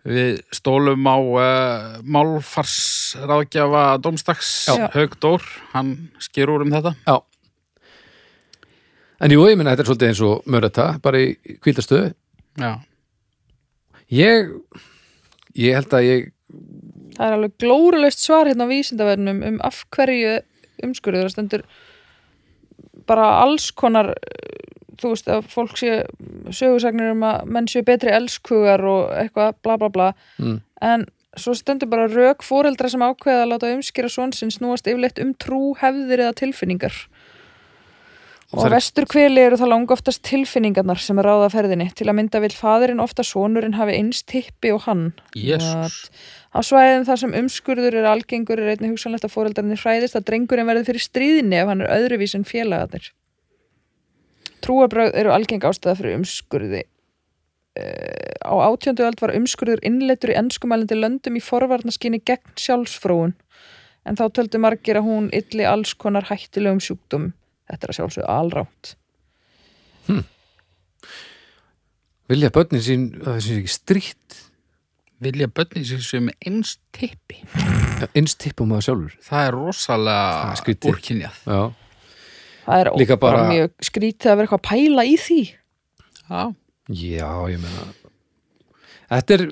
[SPEAKER 2] Við stólum á uh, málfarsráðgjafa Dómstags,
[SPEAKER 3] Já.
[SPEAKER 2] Haug Dór, hann sker úr um þetta.
[SPEAKER 1] já en jú, ég minna þetta er svolítið eins og maura æta bara í kvíldastöðu
[SPEAKER 2] Já,
[SPEAKER 1] Ég, ég held að ég
[SPEAKER 3] það er alveg glórulaust svar hérna á vísindavernum um af hverju umskurður það stendur bara alls konar eh, þú veist að fólk sé sögursagnir um að menn séu betri elskugar og eitthvað bla bla bla
[SPEAKER 1] Mm.
[SPEAKER 3] en svo stendur bara rök fóreldra sem ákveða að láta umskýra svon sinn snúast yfirleitt um trú, hefðir eða tilfinningar Og
[SPEAKER 1] Það
[SPEAKER 3] á
[SPEAKER 1] er-
[SPEAKER 3] vesturkvili eru það langoftast tilfinningarnar sem er ráða ferðinni. Til að mynda vil faðirinn ofta sonurinn hafi eins tippi og hann.
[SPEAKER 2] jésús.
[SPEAKER 3] Á svæðin þar sem umskurður er algengur er einnig hugsanlegt að fóreldarnir hræðist að drengurinn verði fyrir stríðinni ef hann er öðruvís en félagarnir. Trúarbrögð eru algeng ástæða fyrir umskurði. Uh, á átjöndu öld var umskurður innleittur í ennskumælindi löndum í forvarnaskinni gegn sjálfsfróun en þá töldu margir að hún illi alls konar hættulegum sjúkdum. Þetta er að sjálfsögðu alránt.
[SPEAKER 1] vilja börnin sín að það sé ekki strýtt
[SPEAKER 2] Vilja bönni sér sem eins tippi.
[SPEAKER 1] innstippum að sjálfur
[SPEAKER 2] Það er
[SPEAKER 1] Það er
[SPEAKER 2] rosalega
[SPEAKER 1] skrítið.
[SPEAKER 2] úrkynjað.
[SPEAKER 1] Já,
[SPEAKER 3] Það er
[SPEAKER 1] Líka
[SPEAKER 3] ó- bara
[SPEAKER 1] bara-
[SPEAKER 3] mjög skrítið að vera eitthvað að pæla í því.
[SPEAKER 2] Já,
[SPEAKER 1] Já ég meina Þetta er,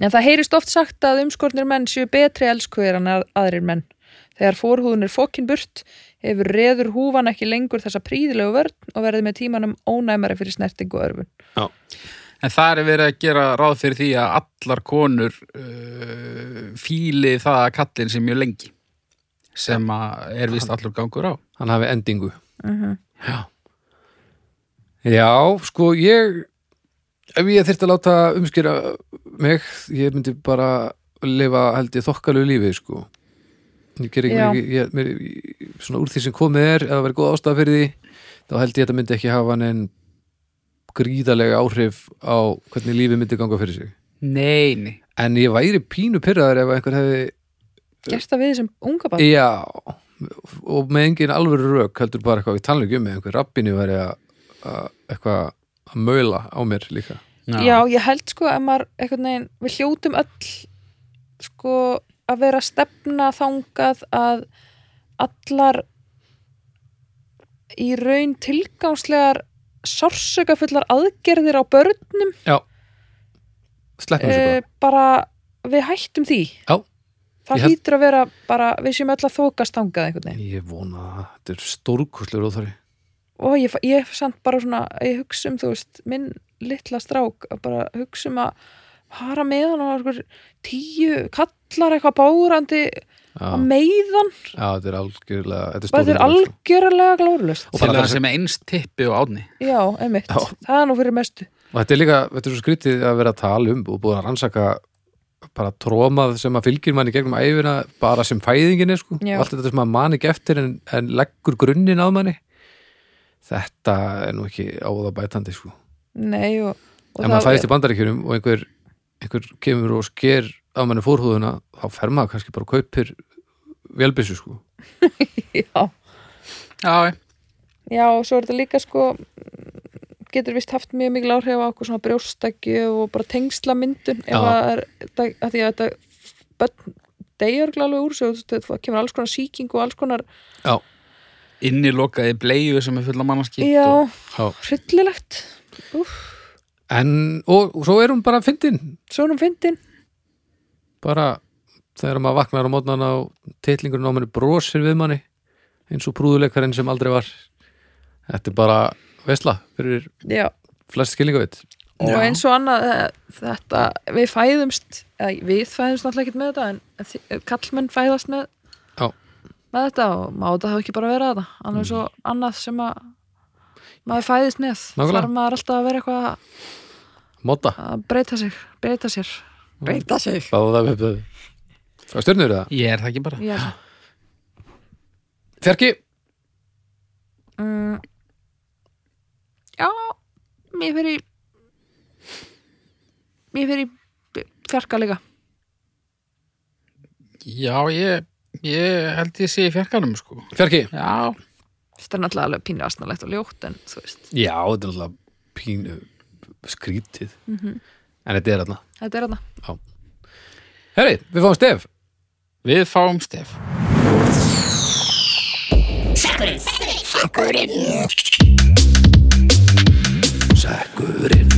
[SPEAKER 3] En það heyrist oft sagt að umskornir menn séu betri elskuðir en að- aðrir menn. Þegar fórhúðun er fókin burt, hefur reður húfan ekki lengur þessa príðilegu vörn og verði með tímanum ónæmari fyrir snertingu og örfun.
[SPEAKER 2] en þar er verið að gera ráð fyrir því að allar konur uh, fíli það að kallin sem mjög lengi sem að er vist allur gangur á
[SPEAKER 1] hann hafi endingu já. já, sko ég ef ég þyrfti að láta umskýra mig, ég myndi bara lifa held ég þokkalegu lífi sko ég ger ekki,
[SPEAKER 3] Já.
[SPEAKER 1] mér, ekki- ég, mér, ég, svona úr því sem komið er eða verið góð ástæða fyrir því þá held ég þetta myndi ekki hafa neinn gríðalega áhrif á hvernig lífið myndi ganga fyrir sig
[SPEAKER 2] Nei, nei
[SPEAKER 1] en ég væri pínu pyrraður ef einhver hefði
[SPEAKER 3] Gerst það við þessum unga barn?
[SPEAKER 1] Já, og með engin alvöru rauk heldur bara eitthvað í tannleikum með um einhver rappinu væri að að- eitthvað að möla á mér líka
[SPEAKER 3] Já, ég held sko að maður einhvern veginn, við hljótum öll sko að vera að stefna þangað að allar í raun tilgangslegar sársökafullar aðgerðir á börnum
[SPEAKER 1] Sleppum þessu
[SPEAKER 3] e,
[SPEAKER 1] bara
[SPEAKER 3] bara við hættum því
[SPEAKER 1] Já. Ég
[SPEAKER 3] það
[SPEAKER 1] held-
[SPEAKER 3] hýtur að vera bara við séum öll að þókast þangað einhvern veginn
[SPEAKER 1] Ég vona að þetta er stórkoslegur óþari
[SPEAKER 3] og ég, fa- ég samt bara svona ég hugsa um, þú veist, minn litla strák að bara hugsa um að fara með hann og einhver tíu kallar eitthvað bárandi
[SPEAKER 1] Já,
[SPEAKER 3] að meiðan
[SPEAKER 1] já, þetta er algjörlega Þetta er
[SPEAKER 3] og þetta er
[SPEAKER 1] stórkoslegur sko.
[SPEAKER 3] algjörlega glórlust
[SPEAKER 1] Og
[SPEAKER 2] Til
[SPEAKER 1] bara
[SPEAKER 2] það
[SPEAKER 1] þessi-
[SPEAKER 2] sem er eins tippi og átni
[SPEAKER 3] já, einmitt,
[SPEAKER 1] Já.
[SPEAKER 3] það er nú fyrir mestu
[SPEAKER 1] Og þetta er líka, þetta er svo skrítið að vera að tala um og búið að rannsaka bara trómað sem að fylgir manni gegnum æfina bara sem fæðingin er sko
[SPEAKER 3] Já.
[SPEAKER 1] og allt þetta sem að manni ekki eftir en, en leggur grunnin á manni þetta er nú ekki áðabætandi sko
[SPEAKER 3] nei og, og
[SPEAKER 1] ef maður fæðist í bandaríkjunum og einhver, einhver kemur og sker á manni fórhúðuna þá fer maður kannski bara og kaupir velbissu sko
[SPEAKER 3] <laughs> já,
[SPEAKER 2] Já, já.
[SPEAKER 3] já, og svo er þetta líka sko getur vist haft mjög mikil áhrif á okkur svona brjóstakju og bara tengslamyndun ef
[SPEAKER 1] Já.
[SPEAKER 3] það er, það, að því að þetta bönn degjörgla alveg úr sig þú veist, það kemur alls konar sýking og alls konar
[SPEAKER 1] já,
[SPEAKER 2] innilokaði bleiðu sem er fulla mannaskipt
[SPEAKER 3] já,
[SPEAKER 2] og
[SPEAKER 1] já.
[SPEAKER 3] hryllilegt Úf,
[SPEAKER 1] En, og, og svo er hún bara fyndin
[SPEAKER 3] svo er hún fyndin
[SPEAKER 1] bara þegar maður vaknar á mótnana og titlingurinn á manni brosir við manni eins og prúðuleikarinn sem aldrei var þetta er bara vesla fyrir
[SPEAKER 3] já
[SPEAKER 1] flest skilningavit
[SPEAKER 3] og eins og annað eh, þetta, við fæðumst eða, við fæðumst náttúrulega ekkert með þetta en þi- kallmenn fæðast með
[SPEAKER 1] Já.
[SPEAKER 3] með þetta og má þetta hafa ekki bara verið þetta
[SPEAKER 1] Mm.
[SPEAKER 3] annars og annað sem að maður fæðist með,
[SPEAKER 1] Nákvæmlega.
[SPEAKER 3] þarf maður alltaf að vera eitthvað að-
[SPEAKER 1] móta,
[SPEAKER 3] að breyta sig breyta sér, breyta sig
[SPEAKER 1] báða það við höfðu hvað stjörnur það?
[SPEAKER 2] ég er það ekki bara
[SPEAKER 3] já,
[SPEAKER 1] Fjarki,
[SPEAKER 3] mm, já mér fyrir mér fyrir fjarka líka
[SPEAKER 2] Já, ég, ég held ég sé í fjarkanum sko
[SPEAKER 1] Fjarki
[SPEAKER 2] Já,
[SPEAKER 3] þetta er náttúrulega alveg pínu astnalegt og ljótt en þú veist,
[SPEAKER 1] Já, þetta er alltaf pínu skrítið en þetta er alltaf
[SPEAKER 3] þetta er þetta
[SPEAKER 1] Herri, við fáum stef
[SPEAKER 2] við fáum stef
[SPEAKER 1] Sækurinn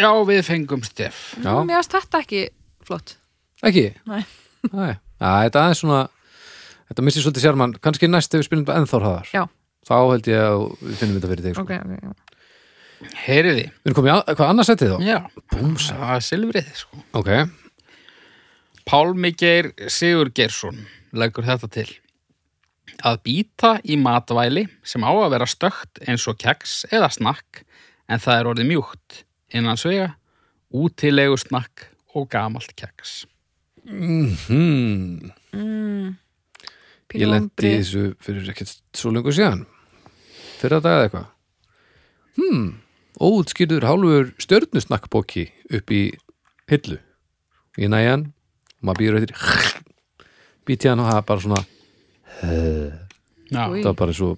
[SPEAKER 2] Já, við fengum stef
[SPEAKER 1] Já,
[SPEAKER 3] mér finnst þetta ekki flott
[SPEAKER 1] ekki?
[SPEAKER 3] Nei.
[SPEAKER 1] Nei, Æ, þetta er aðeins svona þetta missir svolítið sérmann, kannski næst ef við spilum ennþá hraðar
[SPEAKER 3] Já.
[SPEAKER 1] Þá held ég að við finnum þetta fyrir þig sko.
[SPEAKER 3] okay, okay, já.
[SPEAKER 2] Heyriði,
[SPEAKER 1] Við erum komið í að- hvað annars setið þá?
[SPEAKER 2] já,
[SPEAKER 1] Búmsa
[SPEAKER 2] það er silfrið sko
[SPEAKER 1] Ok,
[SPEAKER 2] Pálmi Geir Sigurgeirsson leggur þetta til. Að býta í matvæli sem á að vera stökt eins og keks eða snakk en það er orðið mjúkt innan svega, útilegu snakk og gamalt keks.
[SPEAKER 1] hmm.
[SPEAKER 3] Pínu
[SPEAKER 1] ég lendi
[SPEAKER 3] vonbrigði.
[SPEAKER 1] þessu fyrir ekkert svo lengur síðan fyrir að dagað eitthvað Hmm, óutskýrður hálfur stjörnusnakkbóki upp í hillu ég næja hann og maður býður eitthvað býti hann og það er bara svona
[SPEAKER 2] Já,
[SPEAKER 3] Új.
[SPEAKER 1] það var bara svo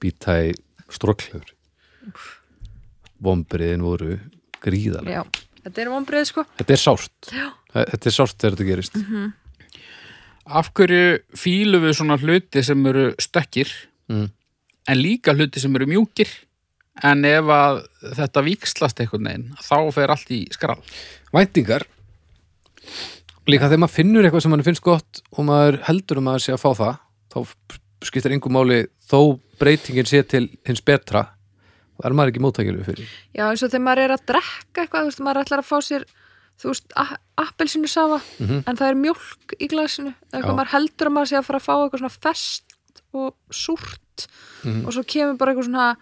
[SPEAKER 1] býta í stróklur vombriðin voru gríðarlega
[SPEAKER 3] já, þetta er vonbreið sko
[SPEAKER 1] þetta er sárt þetta er sárt þegar þetta gerist mm
[SPEAKER 2] af hverju fílu við svona hluti sem eru stökkir
[SPEAKER 1] Mm.
[SPEAKER 2] en líka hluti sem eru mjúkir en ef að þetta vikslast einhvern veginn þá fer allt í skrall.
[SPEAKER 1] væntingar líka þegar maður finnur eitthvað sem mann finnst gott og maður heldur að maður sé að fá það þá skiptir engum máli þó breytingin sé til hins betra það er maður ekki móttækjulegu fyrir
[SPEAKER 3] Já, eins og þegar maður er að drekka eitthvað, þú veist, maður ætlar að fá sér, þú veist, appelsinu safa,
[SPEAKER 1] Mhm.
[SPEAKER 3] en það er mjólk í glasinu,
[SPEAKER 1] Já.
[SPEAKER 3] eitthvað maður heldur að maður sé að fara að fá eitthvað svona fest og súrt
[SPEAKER 1] Mhm.
[SPEAKER 3] og svo kemur bara eitthvað svona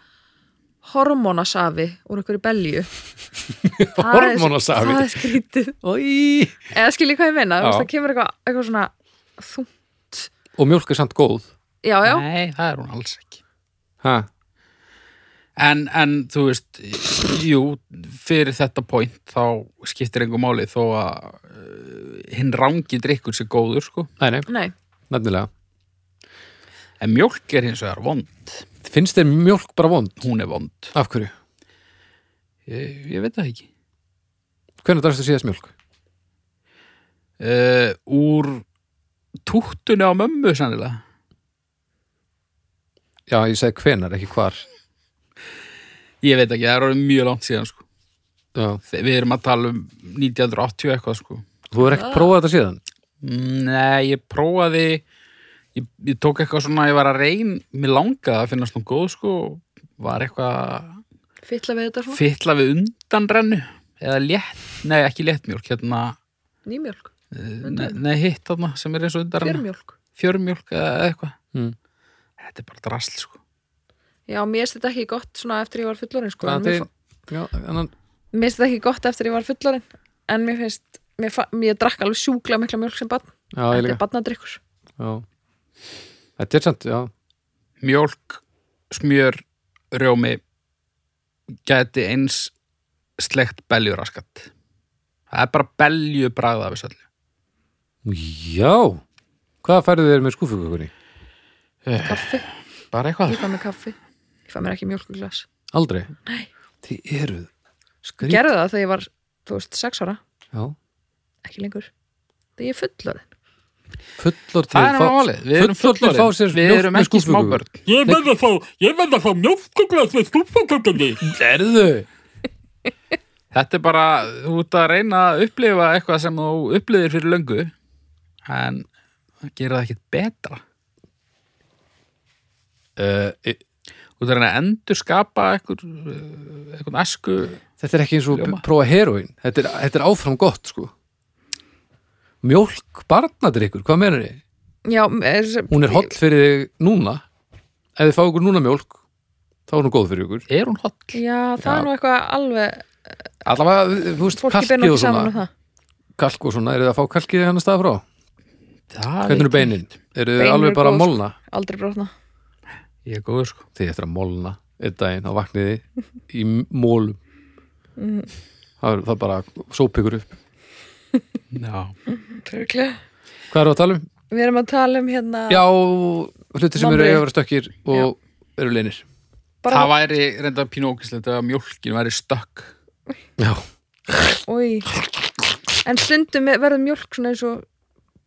[SPEAKER 3] hormónasafi úr einhverju
[SPEAKER 1] <laughs>
[SPEAKER 3] belju. Það er-
[SPEAKER 1] Hormónasafi?
[SPEAKER 3] Það er skrítið.
[SPEAKER 1] Oi.
[SPEAKER 3] Eða skiljið hvað ég meina, þú
[SPEAKER 1] Já.
[SPEAKER 3] veist, það kemur eitthvað, eitthvað svona þú,
[SPEAKER 1] og mjólk er samt góð
[SPEAKER 3] já, já,
[SPEAKER 1] Mhm.
[SPEAKER 2] Nei, það er hún alls ekki.
[SPEAKER 1] ha.
[SPEAKER 2] En, en þú veist, jú, fyrir þetta point þá skiptir einhver máli þó að uh, hinn rangi drikkur sér góður, sko.
[SPEAKER 1] nei, nei,
[SPEAKER 3] nei,
[SPEAKER 1] nefnilega
[SPEAKER 2] En mjólk er hins vegar vond.
[SPEAKER 1] finnst þér mjólk bara vond?
[SPEAKER 2] Hún er vond.
[SPEAKER 1] af hverju?
[SPEAKER 2] Ég, ég veit það ekki.
[SPEAKER 1] hvernig darstu síðast mjólk?
[SPEAKER 2] Uh, úr túttunni á mömmu, sannilega.
[SPEAKER 1] já, ég segi hvenar, ekki hvar
[SPEAKER 2] Ég veit ekki, það er orðið mjög langt síðan, sko.
[SPEAKER 1] já.
[SPEAKER 2] Þe- Við erum að tala um 1980 eitthvað, sko.
[SPEAKER 1] þú er ekkert prófað þetta síðan?
[SPEAKER 2] Nei, ég prófaði ég, ég tók eitthvað svona, ég var að reyn mér langaði að finna svona góð sko og var eitthvað að
[SPEAKER 3] fytla við þetta svona,
[SPEAKER 2] fytla við undanrennu eða létt, nei ekki léttmjólk hérna,
[SPEAKER 3] nýmjólk,
[SPEAKER 2] nei, nei hitt þarna sem er eins og undanrennu
[SPEAKER 3] fjörmjólk.
[SPEAKER 2] fjörmjólk Hmm. eða eða eitthvað
[SPEAKER 1] Mm.
[SPEAKER 2] þetta er bara drasl sko
[SPEAKER 3] Já, mér finnst þetta ekki gott svona eftir ég var fullorinn, sko. en
[SPEAKER 1] Hvað
[SPEAKER 3] mér
[SPEAKER 1] er- já, annan-
[SPEAKER 3] mér finnst þetta ekki gott eftir ég var fullorinn en mér finnst, mér, fa- mér drakk alveg sjúkla mikla mjölk sem barn,
[SPEAKER 1] já, ég
[SPEAKER 3] þetta
[SPEAKER 1] líka
[SPEAKER 3] er barnadrykkur
[SPEAKER 1] Já. Þetta er sant, já.
[SPEAKER 2] mjólk, smjör, rjómi gæti eins slegt beljuraskat það er bara beljubræða af þessu öllu
[SPEAKER 1] Já. Hvað færðu þér með skúfukökunni?
[SPEAKER 3] kaffi,
[SPEAKER 2] bara eitthvað
[SPEAKER 3] ég fæ mér kaffi ég fæ mér ekki mjölkuglas
[SPEAKER 1] Aldrei? Nei. Þið eruð skrýt.
[SPEAKER 3] gerði það þegar ég var, þú veist, sex ára
[SPEAKER 1] Já.
[SPEAKER 3] ekki lengur, þegar ég er fullorinn
[SPEAKER 1] Fullorðnir
[SPEAKER 2] Það
[SPEAKER 1] fá-
[SPEAKER 2] er hann álið, við erum
[SPEAKER 1] fullorðnir
[SPEAKER 2] fullorðin,
[SPEAKER 1] fá sér
[SPEAKER 2] við
[SPEAKER 1] mjólk
[SPEAKER 2] erum
[SPEAKER 1] með
[SPEAKER 2] ekki
[SPEAKER 1] skúffuköku.
[SPEAKER 2] smábörn.
[SPEAKER 4] Ég verð að fá, ég verð að fá mjólkuglas með skúfakökunni.
[SPEAKER 1] Gerðu.
[SPEAKER 2] Þetta er bara, þú ert að reyna að upplifa eitthvað sem þú upplifir fyrir löngu, en það gerir það ekkit betra.
[SPEAKER 1] Uh, e-
[SPEAKER 2] Þú ert að reyna að endurskapa eh, eitthvað, eitthvað esku.
[SPEAKER 1] þetta er ekki eins og
[SPEAKER 2] Ljóma.
[SPEAKER 1] að prófa heroin. Þetta er, þetta er áfram gott, sko. Mjólk barnadrykkur, hvað menar þið?
[SPEAKER 3] já, eh, er,
[SPEAKER 1] Hún er hot fyrir þig núna. Ef þið fá ykkur núna mjólk, þá er hún góð fyrir ykkur.
[SPEAKER 2] Er hún holl?
[SPEAKER 3] já, það
[SPEAKER 1] Já.
[SPEAKER 3] er nú eitthvað alveg
[SPEAKER 1] Allavega, þú veist,
[SPEAKER 3] fólki ber
[SPEAKER 1] kalki
[SPEAKER 3] nú
[SPEAKER 1] og
[SPEAKER 3] ekki saman um
[SPEAKER 1] svona.
[SPEAKER 3] það
[SPEAKER 1] Kalk og svona, eru þið að fá kalkið hann að staða frá?
[SPEAKER 2] Það
[SPEAKER 1] Hvernig eru
[SPEAKER 2] veit ég
[SPEAKER 1] beinin? Eru þið
[SPEAKER 3] Beinin
[SPEAKER 1] alveg
[SPEAKER 3] eru
[SPEAKER 1] bara
[SPEAKER 3] góð,
[SPEAKER 1] að
[SPEAKER 3] sko.
[SPEAKER 1] molna?
[SPEAKER 3] aldrei brotna,
[SPEAKER 2] ekki. Ég er góður sko.
[SPEAKER 1] þið eftir að molna einn daginn á vakniði í mólum það er, það er bara sóp ykkur upp
[SPEAKER 2] Já.
[SPEAKER 3] Tröglega.
[SPEAKER 1] hvað eru að tala um?
[SPEAKER 3] við erum að tala um hérna
[SPEAKER 1] Já, hluti sem eru
[SPEAKER 3] Vonbrigði.
[SPEAKER 1] eiga að vera stökkir og eru leinir
[SPEAKER 3] bara,
[SPEAKER 2] Það væri reynda pínókislegt að mjólkin væri stökk.
[SPEAKER 1] Já,
[SPEAKER 3] Oj. en stundum er- verður mjölk svona eins og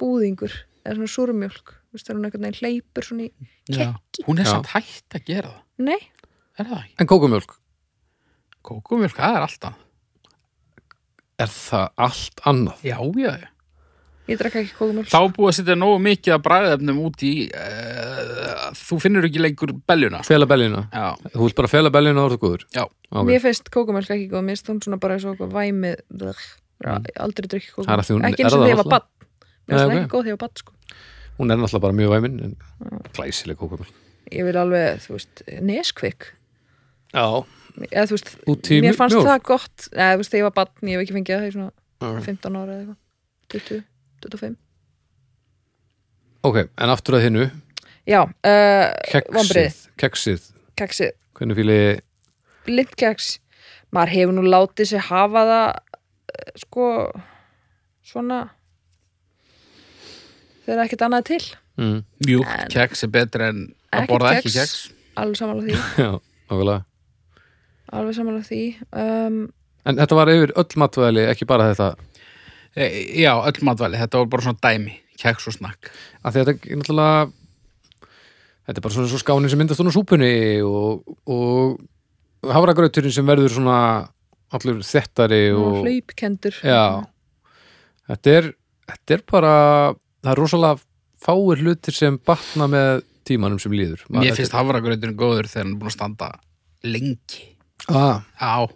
[SPEAKER 3] búðingur eða svona súrmjölk, þú veist, það er hún einhvern veginn hleypur svona í,
[SPEAKER 2] Já. Hún er
[SPEAKER 1] Já.
[SPEAKER 2] samt hægt að gera það.
[SPEAKER 3] nei
[SPEAKER 2] Er það ekki?
[SPEAKER 1] en kókumjólk
[SPEAKER 2] Kókumjólk, það er alltaf.
[SPEAKER 1] er það allt annað
[SPEAKER 2] Já, já, já.
[SPEAKER 3] Ég drakk ekki kókumjólk.
[SPEAKER 2] Þá er búið að setja nógu mikið að bræðefnum út í uh, þú finnur ekki lengur beljuna.
[SPEAKER 1] fela beljuna,
[SPEAKER 2] Já,
[SPEAKER 1] þú vilt bara fela beljuna og þú ert góður
[SPEAKER 2] já.
[SPEAKER 1] Ok.
[SPEAKER 3] Mér finnst kókumjólk ekki góð, mér finnst hún svona bara svo væmið, blögg, aldrei drukk
[SPEAKER 1] Það er
[SPEAKER 3] kókumjólk.
[SPEAKER 1] Mm. af því hún
[SPEAKER 3] Ekki eins
[SPEAKER 1] erfðar
[SPEAKER 3] og því ég var
[SPEAKER 1] náttúrulega.
[SPEAKER 3] bann. Mér
[SPEAKER 1] Nei,
[SPEAKER 3] finnst það
[SPEAKER 1] ok.
[SPEAKER 3] ekki góð því ég var bann, sko.
[SPEAKER 1] hún er náttúrulega bara mjög væmin en glæsileg kókumjólk
[SPEAKER 3] Ég vil alveg, þú veist, neskvik.
[SPEAKER 1] Já,
[SPEAKER 3] Eða þú veist,
[SPEAKER 1] Út í
[SPEAKER 3] mér fannst
[SPEAKER 1] mjólk?
[SPEAKER 3] það gott, eða þú veist, þegar ég var bann, ég hef ekki fengið það í
[SPEAKER 1] Já.
[SPEAKER 3] svona 15 ára eða eitthvað. 20, 25.
[SPEAKER 1] ok, en aftur að hinnu
[SPEAKER 3] Já, uh,
[SPEAKER 1] keksið,
[SPEAKER 3] vombrið,
[SPEAKER 1] keksið
[SPEAKER 3] keksi,
[SPEAKER 1] hvernig fíli,
[SPEAKER 3] lindkeks. Maður hefur nú látið sér hafa það, eh, sko, svona, þegar ekkert annað er til.
[SPEAKER 1] mm,
[SPEAKER 2] Mjúkt
[SPEAKER 3] En-
[SPEAKER 2] keks er betra en að
[SPEAKER 3] Ekkert
[SPEAKER 2] borða ekki
[SPEAKER 3] kex.
[SPEAKER 2] keks.
[SPEAKER 3] alveg samanlega því
[SPEAKER 1] <laughs> já, nákvæmlega
[SPEAKER 3] alveg samanlega því um,
[SPEAKER 1] en þetta var yfir öll matvæli, ekki bara þetta
[SPEAKER 2] E, já, öll matvæli, þetta var bara svona dæmi, keks og snakk.
[SPEAKER 1] að því að þetta er náttúrulega þetta er bara svona svo skánin sem myndast hún á súpunni og, og hafragrauturinn sem verður svona allur þettari
[SPEAKER 3] og
[SPEAKER 1] og
[SPEAKER 3] hlaupkendur
[SPEAKER 1] já, þetta er þetta er bara það er rosalega fáir hlutir sem batna með tímanum sem líður
[SPEAKER 2] Mér finnst hafragrauturinn góður þegar hann er búin að standa lengi.
[SPEAKER 1] ah,
[SPEAKER 2] Já,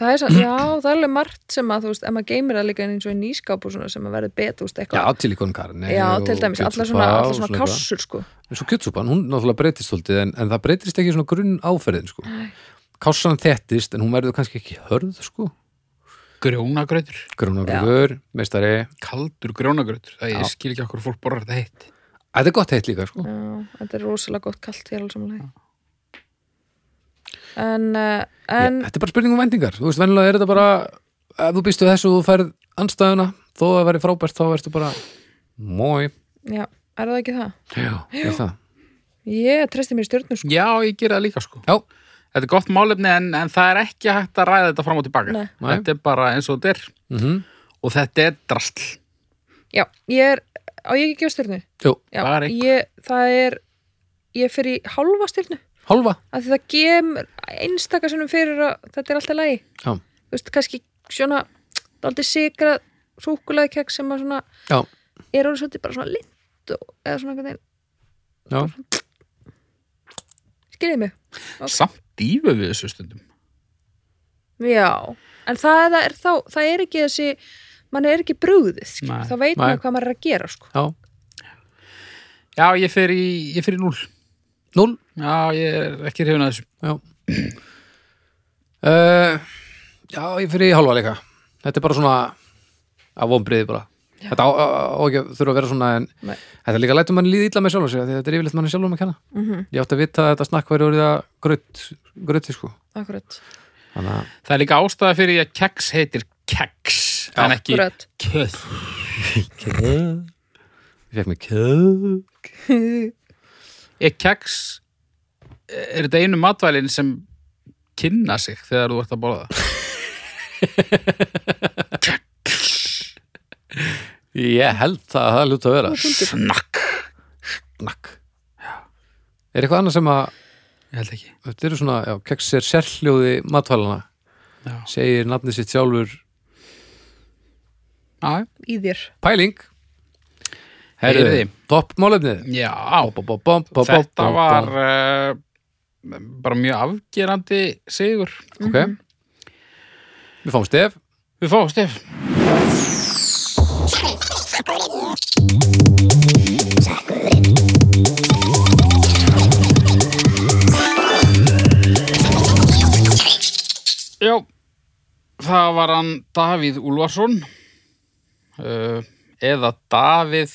[SPEAKER 3] Það er sann, já, það er alveg margt sem að, þú veist, ef maður geymir það líka eins og í nýskáp og svona sem að verði bet, þú veist,
[SPEAKER 1] Já,
[SPEAKER 3] eitthvað.
[SPEAKER 1] til ykkur karni
[SPEAKER 3] já til dæmis, allar svona, allar svona kássur, sko.
[SPEAKER 1] Svo kjötsúpan, hún náttúrulega breytist svolítið en, en það breytist ekki svona grunn áferðin sko.
[SPEAKER 3] Nei.
[SPEAKER 1] Kássan þéttist en hún verður kannski ekki hörð sko.
[SPEAKER 2] grjónagrautur.
[SPEAKER 1] Grunnagröður, meistari
[SPEAKER 2] Kaldur grjónagrautur. Það
[SPEAKER 1] Já.
[SPEAKER 2] ég skil ekki okkur fólk borrar þetta heitt.
[SPEAKER 1] Æ, Þetta er gott heitt líka sko.
[SPEAKER 3] Já, þetta er rosalega gott kalt hér alveg samanlega. En, eh, en,
[SPEAKER 1] Þetta er bara spurning um vendingar Þú veist, venjulega er þetta bara ef þú býstu þessu og þú færð anstæðuna þó að það væri frábært þá ertu bara mói
[SPEAKER 3] já, er það ekki það?
[SPEAKER 1] Já, er það
[SPEAKER 3] Ég treysti mér í stjórnum, sko.
[SPEAKER 2] Já, ég ger það líka sko.
[SPEAKER 1] Já.
[SPEAKER 2] Þetta er gott málefni en, en það er ekki hægt að ræða þetta fram og tilbaka.
[SPEAKER 3] Nei.
[SPEAKER 1] Nei.
[SPEAKER 2] Þetta er bara eins og þetta er.
[SPEAKER 1] mm
[SPEAKER 2] Og þetta er drastl.
[SPEAKER 3] Já, ég er, á ég ekki að gefa stjórnu?
[SPEAKER 1] Jú,
[SPEAKER 3] Já,
[SPEAKER 2] Bara einhver.
[SPEAKER 3] ég, það er, ég fer í hálfa stjórnu.
[SPEAKER 1] hálfa
[SPEAKER 3] að það gemur einstakar sinnum fyrir að þetta er alltaf lægi
[SPEAKER 1] Já.
[SPEAKER 3] þú veist, kannski svona aldrei sigra súkulaði keks sem að svona
[SPEAKER 1] Já.
[SPEAKER 3] er orðið svolítið bara svona lind og, eða svona einhvern veginn,
[SPEAKER 1] Já,
[SPEAKER 3] skilðið mig Ok.
[SPEAKER 2] Samt dýfu við þessu stundum.
[SPEAKER 3] já, en það er þá það er ekki þessi, mann er ekki brúðið skilur,
[SPEAKER 2] Nei.
[SPEAKER 3] þá veit
[SPEAKER 1] Nei.
[SPEAKER 3] maður hvað maður er að gera sko.
[SPEAKER 1] já,
[SPEAKER 2] Já, ég fer í, ég fer í núl.
[SPEAKER 1] núl
[SPEAKER 2] Já, ég er ekki hrifin að þessu.
[SPEAKER 1] <clears throat> uh, Já, ég fyrir í hálfa líka Þetta er bara svona að vonbriði bara Þetta á, á, á ekki að þurfa að vera svona en
[SPEAKER 3] Nei.
[SPEAKER 1] þetta líka lætur mann líða illa með sjálf sig af því að þetta er yfirleitt manni sjálfum að kenna
[SPEAKER 3] mm -hmm.
[SPEAKER 1] Ég átti að vita að þetta snakk væri orðið að gröt, gröti sko
[SPEAKER 3] akkurat,
[SPEAKER 1] Þannig að
[SPEAKER 2] Það er líka ástæða fyrir því að keks heitir keks.
[SPEAKER 1] Já.
[SPEAKER 2] En ekki
[SPEAKER 3] akkurat. <laughs>
[SPEAKER 2] kjöð.
[SPEAKER 1] Ég fekk mig kjöð
[SPEAKER 2] Er keks, er þetta einu matvælin sem kynna sig þegar þú ert að borða það?
[SPEAKER 1] Ég held það að það lúta að vera
[SPEAKER 2] Snakk.
[SPEAKER 1] Snakk Er eitthvað annað sem að
[SPEAKER 2] Ég held ekki.
[SPEAKER 1] þetta eru svona, já, keks er sérhljóði matvælana
[SPEAKER 2] Já.
[SPEAKER 1] segir nafni sitt sjálfur
[SPEAKER 2] Já,
[SPEAKER 3] í þér
[SPEAKER 1] pæling
[SPEAKER 2] Heyrði.
[SPEAKER 1] toppmálefnið
[SPEAKER 2] já.
[SPEAKER 1] Bom, bom, bom, bom,
[SPEAKER 2] Þetta
[SPEAKER 1] bom,
[SPEAKER 2] var
[SPEAKER 1] bom.
[SPEAKER 2] uh, bara mjög afgerandi sigur.
[SPEAKER 1] ok
[SPEAKER 3] Mhm.
[SPEAKER 1] við fáum stef
[SPEAKER 2] Við fáum, Stef. Já, það var hann Davíð Úlfarsson uh, eða Davíð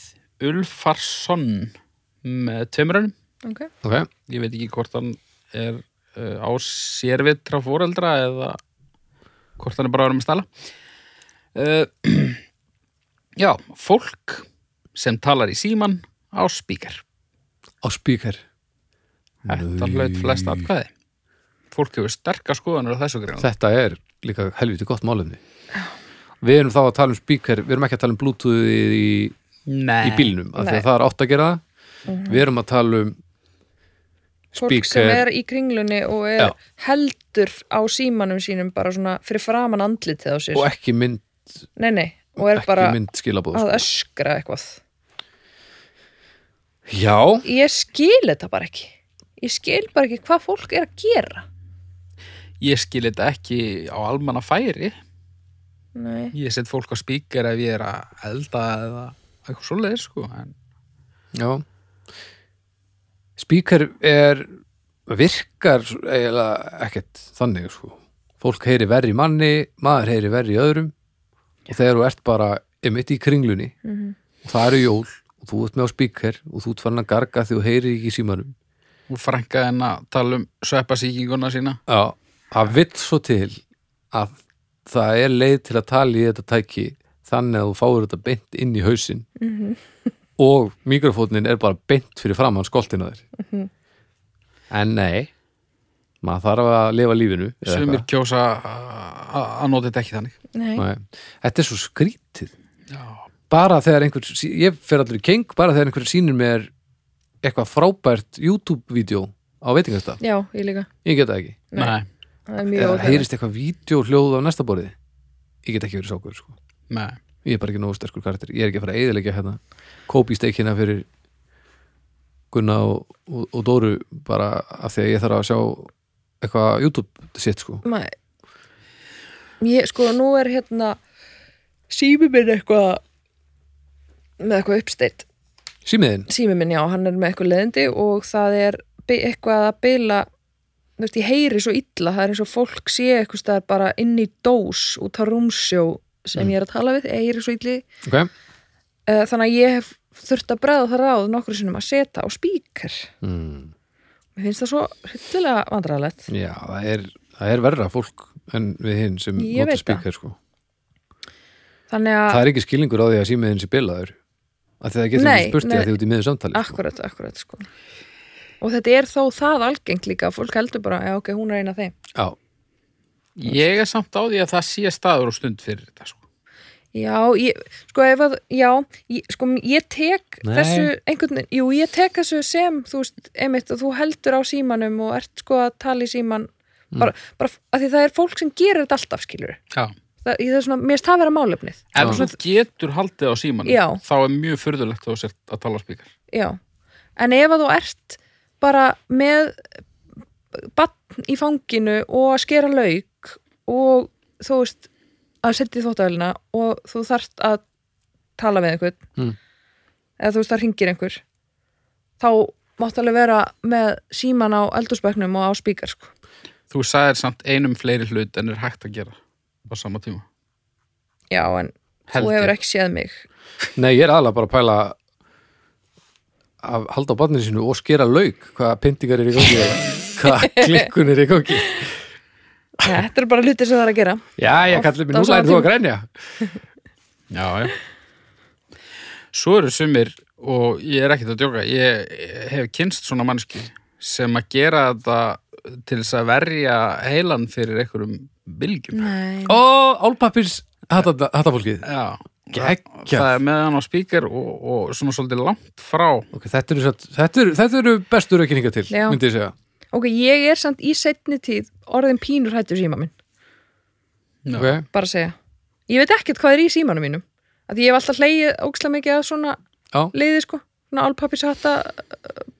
[SPEAKER 2] Ulfarsson með tömrunum.
[SPEAKER 3] ok,
[SPEAKER 1] ok,
[SPEAKER 2] Ég veit ekki hvort hann er uh, á sérvitra fóreldra eða hvort hann er bara að vera með stala. Uh, <clears throat> já, fólk sem talar í síman á spíkar.
[SPEAKER 1] á spíker
[SPEAKER 2] Þetta hlaut flest atkvæði. Fólk hefur sterka skoðanur á þessu greinu.
[SPEAKER 1] þetta er líka helviti gott málefni við erum þá að tala um spíker við erum ekki að tala um bluetooth í, í,
[SPEAKER 2] Nei.
[SPEAKER 1] í bílnum af því
[SPEAKER 3] Nei. Mhm.
[SPEAKER 1] að það er átt að gera það við erum að tala um
[SPEAKER 3] fólk sem
[SPEAKER 1] Speaker.
[SPEAKER 3] er í kringlunni og er
[SPEAKER 1] Já.
[SPEAKER 3] heldur á símanum sínum bara svona fyrir framan andlitið á sér
[SPEAKER 1] og ekki mynd,
[SPEAKER 3] nei, nei, og er
[SPEAKER 1] ekki
[SPEAKER 3] bara
[SPEAKER 1] mynd sko. skilabóð
[SPEAKER 3] að öskra eitthvað
[SPEAKER 1] já,
[SPEAKER 3] ég skil þetta bara ekki ég skil bara ekki hvað fólk er að gera
[SPEAKER 2] Ég skil þetta ekki á almanna færi.
[SPEAKER 3] nei,
[SPEAKER 2] Ég set fólk á spíkar ef ég er að elda eða eitthvað svoleiðir sko. En
[SPEAKER 1] já spíker er virkar eiginlega ekkert þannig sko fólk heyri verri í manni, maður heyri verri í öðrum og þegar þú ert bara emitt í kringlunni
[SPEAKER 3] Mhm.
[SPEAKER 1] og það eru jól og þú ert með á spíker og þú ert farin að garga því þú heyri ekki í símanum
[SPEAKER 2] hún frænkaði henn að tala um sveppasíkinguna sína.
[SPEAKER 1] Já, það vill svo til að það er leið til að tala í þetta tæki þannig að þú fáir þetta beint inn í hausinn -hmm. <laughs> og mikrofónin er bara beint fyrir framann skoltin að þér En nei maður þarf að lifa lífinu eða
[SPEAKER 2] Sumir
[SPEAKER 1] eitthvað.
[SPEAKER 2] kjósa a- a- að nota þetta ekki þannig.
[SPEAKER 3] nei.
[SPEAKER 1] Nei. Þetta er svo skrítið
[SPEAKER 2] Já.
[SPEAKER 1] bara þegar einhver, sí- ég fer allir í keng bara þegar einhver sýnir mér eitthvað frábært YouTube-vídeó á veitingastaf,
[SPEAKER 3] já, ég líka
[SPEAKER 1] ég get það ekki
[SPEAKER 3] Nei.
[SPEAKER 2] Nei,
[SPEAKER 3] það er
[SPEAKER 1] eða
[SPEAKER 3] mjög óþægilegt.
[SPEAKER 1] heyrist eitthvað vídeo hljóð á næsta borði ég get ekki verið sákur sko
[SPEAKER 2] nei.
[SPEAKER 1] ég ég er bara ekki nógu sterkur karakter ég er ekki að fara að eyðilegja hérna kópi steikina fyrir Gunna og, og, og Dóru bara af því að ég þarf að sjá eitthvað YouTube sitt sko
[SPEAKER 3] Mæ, ég, sko, nú er hérna sími minn eitthvað með eitthvað uppsteitt
[SPEAKER 1] símiðin,
[SPEAKER 3] sími minn, já, hann er með eitthvað leðindi og það er bi- eitthvað að bila þú veist, ég heyri svo illa það er eins og fólk sé eitthvað staðar bara inn í dós út á rúmsjó sem ég er að tala við, ég heyri svo illi
[SPEAKER 1] ok?
[SPEAKER 3] Eh, þannig að ég hef þurft að bregða það ráð nokkru sinnum að setja á spíker
[SPEAKER 1] Mm.
[SPEAKER 3] mér finnst það svo hryllilega vandræðalegt
[SPEAKER 1] Já, það er, það er verra fólk en við hinn sem
[SPEAKER 3] Ég
[SPEAKER 1] nota
[SPEAKER 3] veit það. Ah.
[SPEAKER 1] spíker sko.
[SPEAKER 3] þannig að,
[SPEAKER 1] Það er ekki skilningur á því að símiðin sé bilaður af því að það getur
[SPEAKER 3] Nei,
[SPEAKER 1] ekki spurt því
[SPEAKER 3] nei.
[SPEAKER 1] að þið út í miður samtali sko.
[SPEAKER 3] akkurat, akkurat sko. og þetta er þó það algengt líka fólk heldur bara, já ok, hún er eina þeim
[SPEAKER 1] Já,
[SPEAKER 2] Ég er samt á því að það sé staður og stund fyrir þetta sko.
[SPEAKER 3] já, ég, sko ef að já, ég, sko ég tek
[SPEAKER 1] Nei.
[SPEAKER 3] þessu einhvern, jú, ég tek þessu sem þú veist, emitt, að þú heldur á símanum og ert sko að tala í síman bara, bara að því það er fólk sem gerir þetta alltaf skilur,
[SPEAKER 2] Já.
[SPEAKER 3] það, ég, það er svona, mér finnst það vera málefnið
[SPEAKER 2] Ef þú getur haldið á símanum
[SPEAKER 3] Já.
[SPEAKER 2] þá er mjög furðulegt að þú sért að tala á spíkar
[SPEAKER 3] Já, en ef að þú ert bara með bann í fanginu og að skera lauk og þú veist að setja í þóttavælina og þú þarft að tala við einhvern
[SPEAKER 1] Mm.
[SPEAKER 3] eða þú veist að ringir einhver þá mátt alveg vera með síman á eldurspeknum og á spíkar sko.
[SPEAKER 2] Þú sagðir samt einum fleiri hlut en er hægt að gera á sama tíma
[SPEAKER 3] Já, en
[SPEAKER 2] Held
[SPEAKER 3] þú
[SPEAKER 2] ég.
[SPEAKER 3] hefur ekki séð mig
[SPEAKER 1] nei, ég er aðlega bara að pæla að halda á barninu sínu og skera lauk hvaða pyntingar er í
[SPEAKER 3] <laughs>
[SPEAKER 1] gangi eða hvaða klikkun er í gangi
[SPEAKER 3] ja, Þetta er bara hluti sem það er að gera
[SPEAKER 1] Já, ég
[SPEAKER 3] Oft
[SPEAKER 1] kallir mig
[SPEAKER 3] á
[SPEAKER 1] nú
[SPEAKER 3] sama
[SPEAKER 1] læri þú
[SPEAKER 3] tíma.
[SPEAKER 1] að grænja
[SPEAKER 2] Já, já. Svo eru sumir og ég er ekkert að djóka, ég hef kynst svona mannski sem að gera þetta til þess að verja heilan fyrir einhverjum bylgjum.
[SPEAKER 3] Nei,
[SPEAKER 1] Ó, álpappins hattafólkið
[SPEAKER 2] Já.
[SPEAKER 1] Geggjað.
[SPEAKER 2] Það er meðan á spíker og, og svona svolítið langt frá.
[SPEAKER 1] Ok, þetta eru, satt, þetta eru, þetta eru bestur ekki hingað til,
[SPEAKER 3] Já.
[SPEAKER 1] myndi ég segja
[SPEAKER 3] ok, ég er samt í setni tíð orðin pínur hættur síma minn
[SPEAKER 2] Já.
[SPEAKER 1] Ok,
[SPEAKER 3] bara að segja ég veit ekkert hvað er í símanum mínum að því ég hef alltaf hleyið ókslega mikið að svona
[SPEAKER 1] Já.
[SPEAKER 3] leiði sko, svona álpappis hatta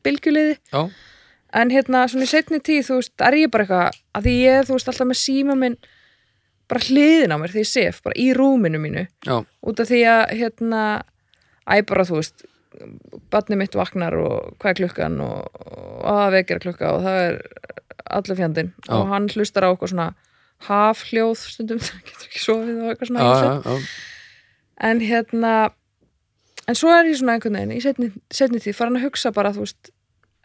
[SPEAKER 3] bylgjuleiði,
[SPEAKER 1] já,
[SPEAKER 3] en hérna svona í setni tíð, þú veist, er ég bara eitthvað að því ég, þú veist, alltaf með síma minn bara hliðin á mér því ég sef bara í rúminu mínu,
[SPEAKER 1] já,
[SPEAKER 3] út af því að hérna, æ bara, þú veist barnið mitt vaknar og hvað er klukkan og, og það vekir klukka og það er allur fjandinn
[SPEAKER 1] Já.
[SPEAKER 3] og hann hlustar á okkur svona hafhljóð stundum, <laughs> það getur ekki sofið og eitthvað
[SPEAKER 1] já,
[SPEAKER 3] svona
[SPEAKER 1] já, já.
[SPEAKER 3] en hérna en svo er ég svona einhvern veginn í setni, setni tíð farin að hugsa bara þú veist,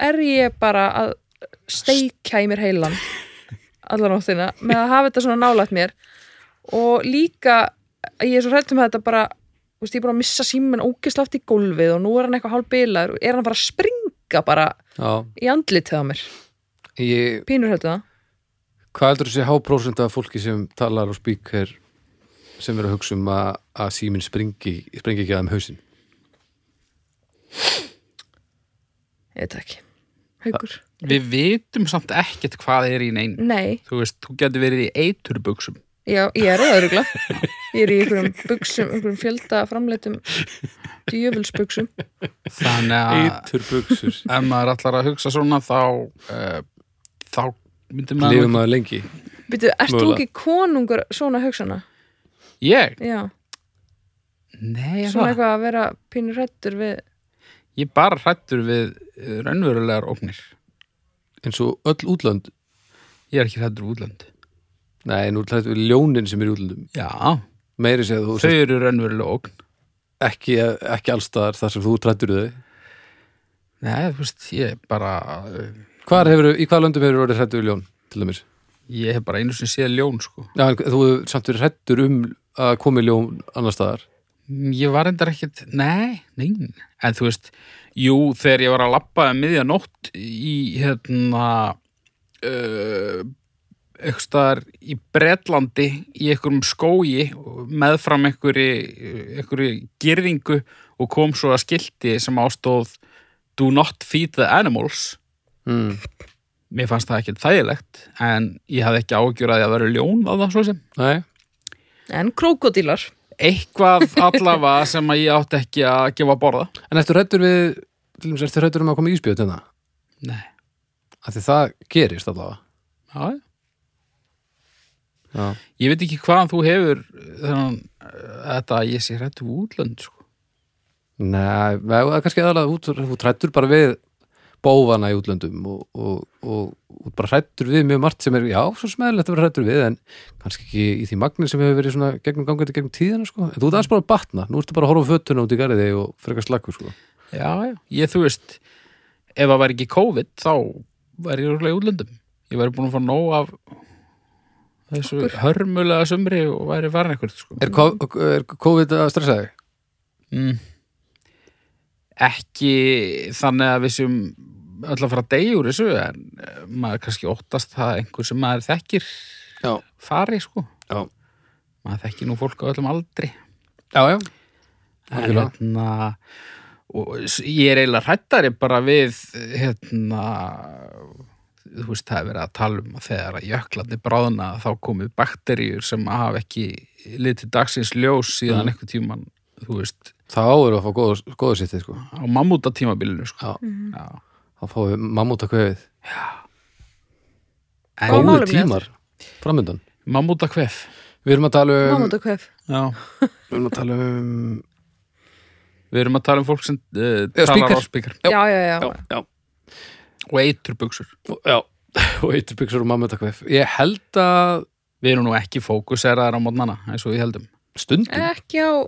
[SPEAKER 3] er ég bara að steikja í mér heilan allan óttina með að hafa þetta svona nálægt mér og líka ég er svo hrættum með þetta bara þú veist, ég er búin að missa síminn ógislaft í gólfið og nú er hann eitthvað hálfbilaður er hann að fara að springa bara
[SPEAKER 1] já.
[SPEAKER 3] í andlitið á mér
[SPEAKER 1] Ég,
[SPEAKER 3] pínur hrættu það
[SPEAKER 1] Hvað heldur þessi háprósent af fólki sem talar og spíker sem er að hugsa um að, að síminn springi, springi ekki að þeim hausinn?
[SPEAKER 3] ég veit það ekki, haukur
[SPEAKER 2] Við vitum samt ekkert hvað er í neinu.
[SPEAKER 3] nei,
[SPEAKER 2] Þú veist, þú getur verið í eiturbuxum.
[SPEAKER 3] Já, ég er það örugla Ég er í
[SPEAKER 1] <laughs>
[SPEAKER 3] einhverjum buksum, einhverjum fjölda framleitum djöfulsbuksum
[SPEAKER 2] Þannig að
[SPEAKER 1] Eitur buksur.
[SPEAKER 2] ef maður ætlar að hugsa svona þá, uh, þá myndum <laughs> maður...
[SPEAKER 1] Lifum maður lengi.
[SPEAKER 3] Býtu, ert þú
[SPEAKER 1] Mögulega.
[SPEAKER 3] ekki konungur svona hugsana?
[SPEAKER 2] Ég?
[SPEAKER 3] Já,
[SPEAKER 2] Nei,
[SPEAKER 3] svona
[SPEAKER 2] það-
[SPEAKER 3] eitthvað að vera pínur hrættur við
[SPEAKER 2] Ég er bara hrættur við eh, raunverulegar ógnir.
[SPEAKER 1] En svo öll útlönd,
[SPEAKER 2] Ég er ekki hrættur útlönd.
[SPEAKER 1] nei, nú hlættu við ljónin sem er í útlöndum.
[SPEAKER 2] Já.
[SPEAKER 1] Meiri segja þú
[SPEAKER 2] Þau
[SPEAKER 1] sért
[SPEAKER 2] eru raunverulega ógn.
[SPEAKER 1] ekki, ekki allstaðar þar sem þú trættur þau.
[SPEAKER 2] Nei, þú veist, ég er bara, eh,
[SPEAKER 1] Hvar hefur, í hvað löndum hefur orðið hrættur við ljón, til dæmis?
[SPEAKER 2] ég hef bara einu sem séð ljón, sko.
[SPEAKER 1] Já, en þú hefur samt verið hrættur um að komi ljón annar staðar.
[SPEAKER 2] Mm, Ég var endar ekkit, nei, nein. En þú veist, jú, þegar ég var að lappa um miðja nótt í, hérna, uh, eitthvað staðar í Bretlandi í einhverjum skói meðfram einhverju, einhverju girðingu og kom svo að skilti sem ástóð Do not feed the animals
[SPEAKER 1] Mm.
[SPEAKER 2] mér fannst það ekkert þægilegt en ég hafði ekki ágjur að ég að vera ljón að það svo sem
[SPEAKER 1] Nei,
[SPEAKER 3] En krókodílar
[SPEAKER 2] eitthvað allavega sem að ég átti ekki að gefa að borða
[SPEAKER 1] En ertu hrættur við, til dæmis, ertu hrættur um að koma í íspjöð til það?
[SPEAKER 2] Nei,
[SPEAKER 1] Af því það gerist allavega.
[SPEAKER 2] já, já.
[SPEAKER 1] Já.
[SPEAKER 2] ég veit ekki hvaðan þú hefur þennan, eh, þetta að ég sé hrættu útlönd sko.
[SPEAKER 1] Nei, það er kannski aðalega út, út hrættur bara við bófana í útlöndum og, og, og, og bara hrættur við mjög margt sem er, já, svo smeðilegt að vera hrættur við en kannski ekki í því magni sem hefur verið svona gegnum gangandi gegnum tíðina, sko. En þú ert aðeins bara að batna, nú ertu bara að horfa á fötuna út í garðið og frekar slakku, sko.
[SPEAKER 2] Já, já, ég þú veist ef það væri ekki COVID þá væri ég rúglega í útlöndum ég væri búin að fá nóg af þessu hörmulega sumri og væri varin ekkert sko.
[SPEAKER 1] Er, ko- er COVID að stressa þig?
[SPEAKER 2] mm. ekki þannig að við séum öll að fara að deyja úr þessu en eh, maður kannski óttast það að einhver sem maður þekkir
[SPEAKER 1] Já.
[SPEAKER 2] fari sko
[SPEAKER 1] Já.
[SPEAKER 2] maður þekkir nú fólk á öllum aldri
[SPEAKER 1] Já, já.
[SPEAKER 2] En
[SPEAKER 1] Algjörlega.
[SPEAKER 2] hérna, og s- ég er eiginlega hrættari bara við hérna þú veist það er verið að tala um að þegar að jöklandi bráðna þá komið bakteríur sem hafa ekki litið dagsins ljós síðan
[SPEAKER 1] Mm.
[SPEAKER 2] mm. einhver tíman þú veist
[SPEAKER 1] Þá eru að fá góðu, góðu sitt, sko.
[SPEAKER 2] á mammúta tímabilinu sko.
[SPEAKER 1] Já.
[SPEAKER 2] Já.
[SPEAKER 1] Þá fáum við mammúta kvefið.
[SPEAKER 2] En-
[SPEAKER 3] Góð
[SPEAKER 1] Góðu
[SPEAKER 3] málefni,
[SPEAKER 1] tímar framöndan.
[SPEAKER 2] Mammúta kvef
[SPEAKER 1] Við erum að tala um...
[SPEAKER 3] Mámúta kvef
[SPEAKER 2] Já.
[SPEAKER 1] Við erum að tala um
[SPEAKER 2] Við erum að tala um fólk sem uh,
[SPEAKER 1] Já,
[SPEAKER 2] talar
[SPEAKER 1] spíkar.
[SPEAKER 2] á spíkar
[SPEAKER 3] Já, já, já,
[SPEAKER 1] já, já,
[SPEAKER 2] og eitur buksur
[SPEAKER 1] já. <laughs> og eiturbyxur og mamma takkvef ég held að
[SPEAKER 2] Við erum nú ekki fókuseraðar á mótnana eins og við heldum
[SPEAKER 1] stundum
[SPEAKER 3] Ekki á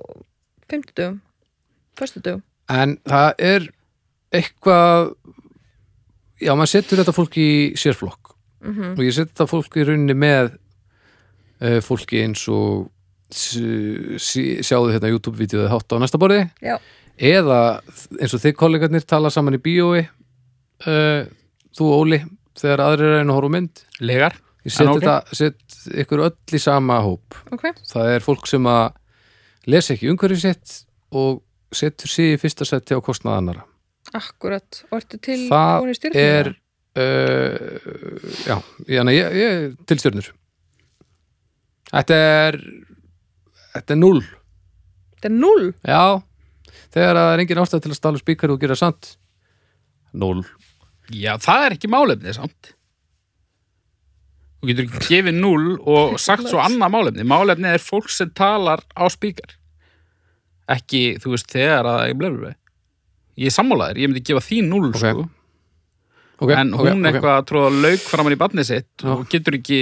[SPEAKER 3] fimmtudum Föstudum
[SPEAKER 1] en það er eitthvað já, maður setur þetta fólk í sérflokk
[SPEAKER 3] Mhm,
[SPEAKER 1] og ég set þetta fólk í rauninni með uh, fólki eins og s- sí- sjáðu hérna YouTube-vídeoði hátt á næsta borði
[SPEAKER 3] Já,
[SPEAKER 1] eða eins og þið kollegarnir tala saman í bíói uh, þú og Óli þegar aðrir er einu horf mynd
[SPEAKER 2] Legar?
[SPEAKER 1] ég set,
[SPEAKER 2] En ok.
[SPEAKER 1] þetta, set ykkur öll í sama hóp
[SPEAKER 3] ok
[SPEAKER 1] það er fólk sem að lesa ekki umhverfið sitt og setur sig í fyrsta seti á kostnað annara
[SPEAKER 3] Akkurat, og ertu til
[SPEAKER 1] Það
[SPEAKER 3] komin í stjörnum?
[SPEAKER 1] er uh, já, ég, þannig að ég, ég til stjörnur þetta er þetta er null
[SPEAKER 3] Þetta er null
[SPEAKER 1] já, þegar það er engin ástæð til að stala spíkar og gera sant null
[SPEAKER 2] Já, það er ekki málefni samt Þú getur ekki gefið núl og sagt svo annað málefni Málefni er fólk sem talar á spíkar Ekki, þú veist, þegar að ég blefur við Ég er sammálaður, ég myndi gefa þín núl
[SPEAKER 1] Ok.
[SPEAKER 2] sko.
[SPEAKER 1] okay,
[SPEAKER 2] en
[SPEAKER 1] ok,
[SPEAKER 2] hún
[SPEAKER 1] ok.
[SPEAKER 2] eitthvað að tróða lauk framan í barnið sitt og getur ekki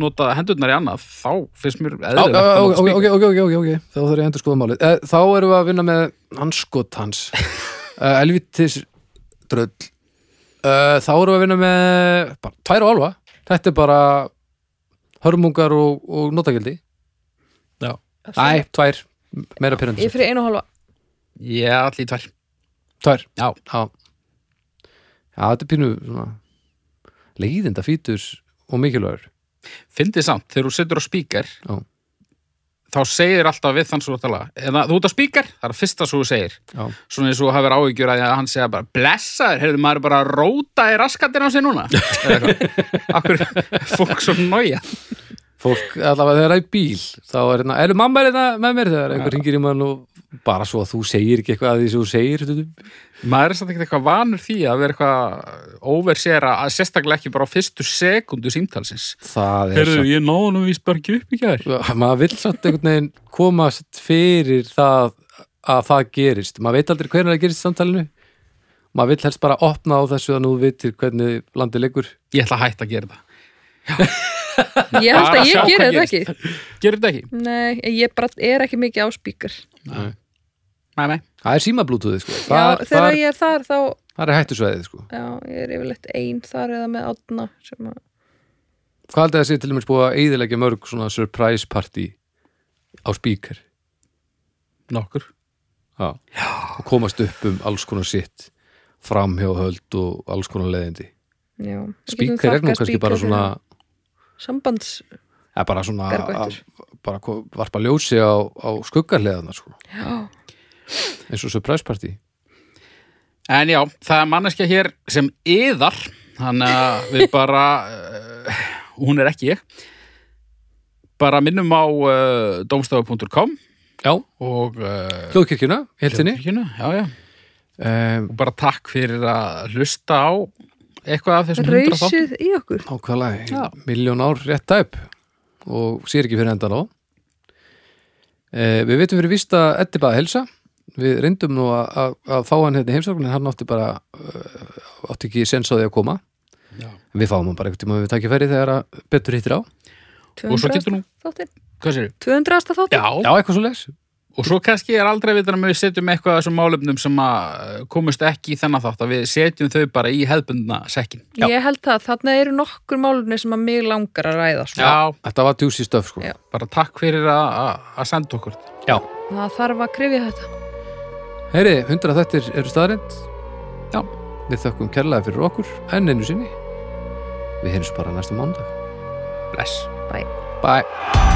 [SPEAKER 2] notað hendurnar í annað þá finnst mér
[SPEAKER 1] Já,
[SPEAKER 2] eðlilegt
[SPEAKER 1] já,
[SPEAKER 2] að
[SPEAKER 1] ok,
[SPEAKER 2] nota
[SPEAKER 1] ok,
[SPEAKER 2] spíkar
[SPEAKER 1] ok, ok, ok, ok, ok. þá þarf ég að endur skoða málið Eh, þá erum við að vinna með anskot hans
[SPEAKER 2] <laughs>
[SPEAKER 1] uh, elvitis dröll uh, þá erum við að vinna með bara, tvær og alva, þetta er bara hörmungar og, og notagildi
[SPEAKER 2] Já.
[SPEAKER 1] Æ, tvær, meira
[SPEAKER 3] Ég
[SPEAKER 1] pyrrandi
[SPEAKER 3] fyrir einu og hálfa
[SPEAKER 1] <laughs>
[SPEAKER 2] Ég er allir í tvær
[SPEAKER 1] tvær,
[SPEAKER 2] Já.
[SPEAKER 1] já já, þetta er pínu svona, leiðinda fítur og mikilvægur
[SPEAKER 2] Fyndið samt, þegar þú setur á spíkar
[SPEAKER 1] Já.
[SPEAKER 2] þá segir alltaf við þann svo að tala eða þú ert á spíkar, það er að fyrsta svo þú segir
[SPEAKER 1] já,
[SPEAKER 2] svona eins og þú hafir áhyggjur að því að hann segja bara blessaður, heyrðu maður er bara að róta í raskatina á sig núna Eða eitthvað. Akkur er fólk svo nája
[SPEAKER 1] fólk allavega þegar það er í bíl þá er hérna, eru mamma er hérna með mér þegar einhver ringir í mann og bara svo að þú segir ekki eitthvað að því sem þú segir stundum.
[SPEAKER 2] maður er samt ekkert eitthvað vanur því að vera eitthvað oversera að sérstaklega ekki bara á fyrstu sekundu símtalsins
[SPEAKER 1] það er
[SPEAKER 2] ég náðu nú víst bara ekki upp í gær
[SPEAKER 1] samt maður vill samt einhvern veginn komast fyrir það að það gerist maður veit aldrei hvernig það gerist í samtalinu maður vill helst bara opna á þessu að nú þú vitir hvernig landið liggur
[SPEAKER 2] ég ætla að hætta að gera það
[SPEAKER 3] Ég held
[SPEAKER 2] Bara
[SPEAKER 3] að
[SPEAKER 2] sjá
[SPEAKER 3] ég
[SPEAKER 2] hvað
[SPEAKER 3] geri þetta
[SPEAKER 2] gerist.
[SPEAKER 3] ekki
[SPEAKER 2] gerir þetta ekki?
[SPEAKER 3] Nei, ég bara er ekki mikið á spíkar
[SPEAKER 2] Nei, nei.
[SPEAKER 1] það er síma bluetoothið sko
[SPEAKER 3] Já,
[SPEAKER 1] það,
[SPEAKER 3] þegar
[SPEAKER 1] það,
[SPEAKER 3] ég er þar þá
[SPEAKER 1] það er hættusvæðið sko
[SPEAKER 3] Já, ég er yfirleitt ein þar eða með átna sem að
[SPEAKER 1] hvað haldið að sé til og með búið að eyðilegja mörg svona surprise party á speaker
[SPEAKER 2] nokkur
[SPEAKER 1] Já. og komast upp um alls konar sitt framhjáhöld og alls konar leiðindi
[SPEAKER 3] Já, við getum
[SPEAKER 1] spíkar er nú
[SPEAKER 3] þakkað
[SPEAKER 1] kannski
[SPEAKER 3] spíkar
[SPEAKER 1] bara
[SPEAKER 3] fyrir
[SPEAKER 1] svona
[SPEAKER 3] Sambands,
[SPEAKER 1] eða bara svona að,
[SPEAKER 3] Gargvættur.
[SPEAKER 1] bara ko- varpa ljósi á, á skuggarleðana sko.
[SPEAKER 3] já,
[SPEAKER 1] eins og surprise party
[SPEAKER 2] En já, það er manneskja hér sem yðar, þannig að við bara, uh, eh, hún er ekki ég, bara minnum á uh, domstofu.com
[SPEAKER 1] Já,
[SPEAKER 2] og uh,
[SPEAKER 1] hljóðkirkjuna, heldinni
[SPEAKER 2] Hljóðkirkjuna, já, já.
[SPEAKER 1] um,
[SPEAKER 2] og bara takk fyrir að hlusta á eitthvað af þessum hundra þáttum
[SPEAKER 3] Rausið í okkur
[SPEAKER 1] Ákvæðlega,
[SPEAKER 2] Já.
[SPEAKER 1] miljón ár rétt tæp og sér ekki fyrir endan á e, Við veitum fyrir víst að Eddi bara helsa Við reyndum nú að, að, að fá hann hérna heimsóknin, hann átti bara uh, átti ekki sens á því að koma
[SPEAKER 2] Já.
[SPEAKER 1] Við fáum hann bara einhvern tíma við takja færi þegar að betur hittir á
[SPEAKER 2] Og svo getur nú-
[SPEAKER 3] þáttir
[SPEAKER 2] Hvað sér?
[SPEAKER 3] 200. þáttir
[SPEAKER 2] Já,
[SPEAKER 1] Já, eitthvað svo leis
[SPEAKER 2] og svo kannski er aldrei að vita að við setjum eitthvað af þessum málefnum sem að eh, komust ekki í þennan þátt að við setjum þau bara í hefðbundna sekkin
[SPEAKER 1] Já.
[SPEAKER 3] Ég held það, þarna eru nokkur málumni sem að mig langar að ræða sko. svona.
[SPEAKER 2] Já,
[SPEAKER 1] Þetta var djúsi stöf sko
[SPEAKER 3] Já.
[SPEAKER 2] bara takk fyrir að- að að senda okkur
[SPEAKER 1] Já.
[SPEAKER 3] Það þarf að krifja þetta
[SPEAKER 1] Heyri, hundra þettir eru staðarind
[SPEAKER 2] Já.
[SPEAKER 1] Við þökkum kærlega fyrir okkur enn einu sinni Við heyrjum bara næsta mándag
[SPEAKER 2] Bless
[SPEAKER 1] Bye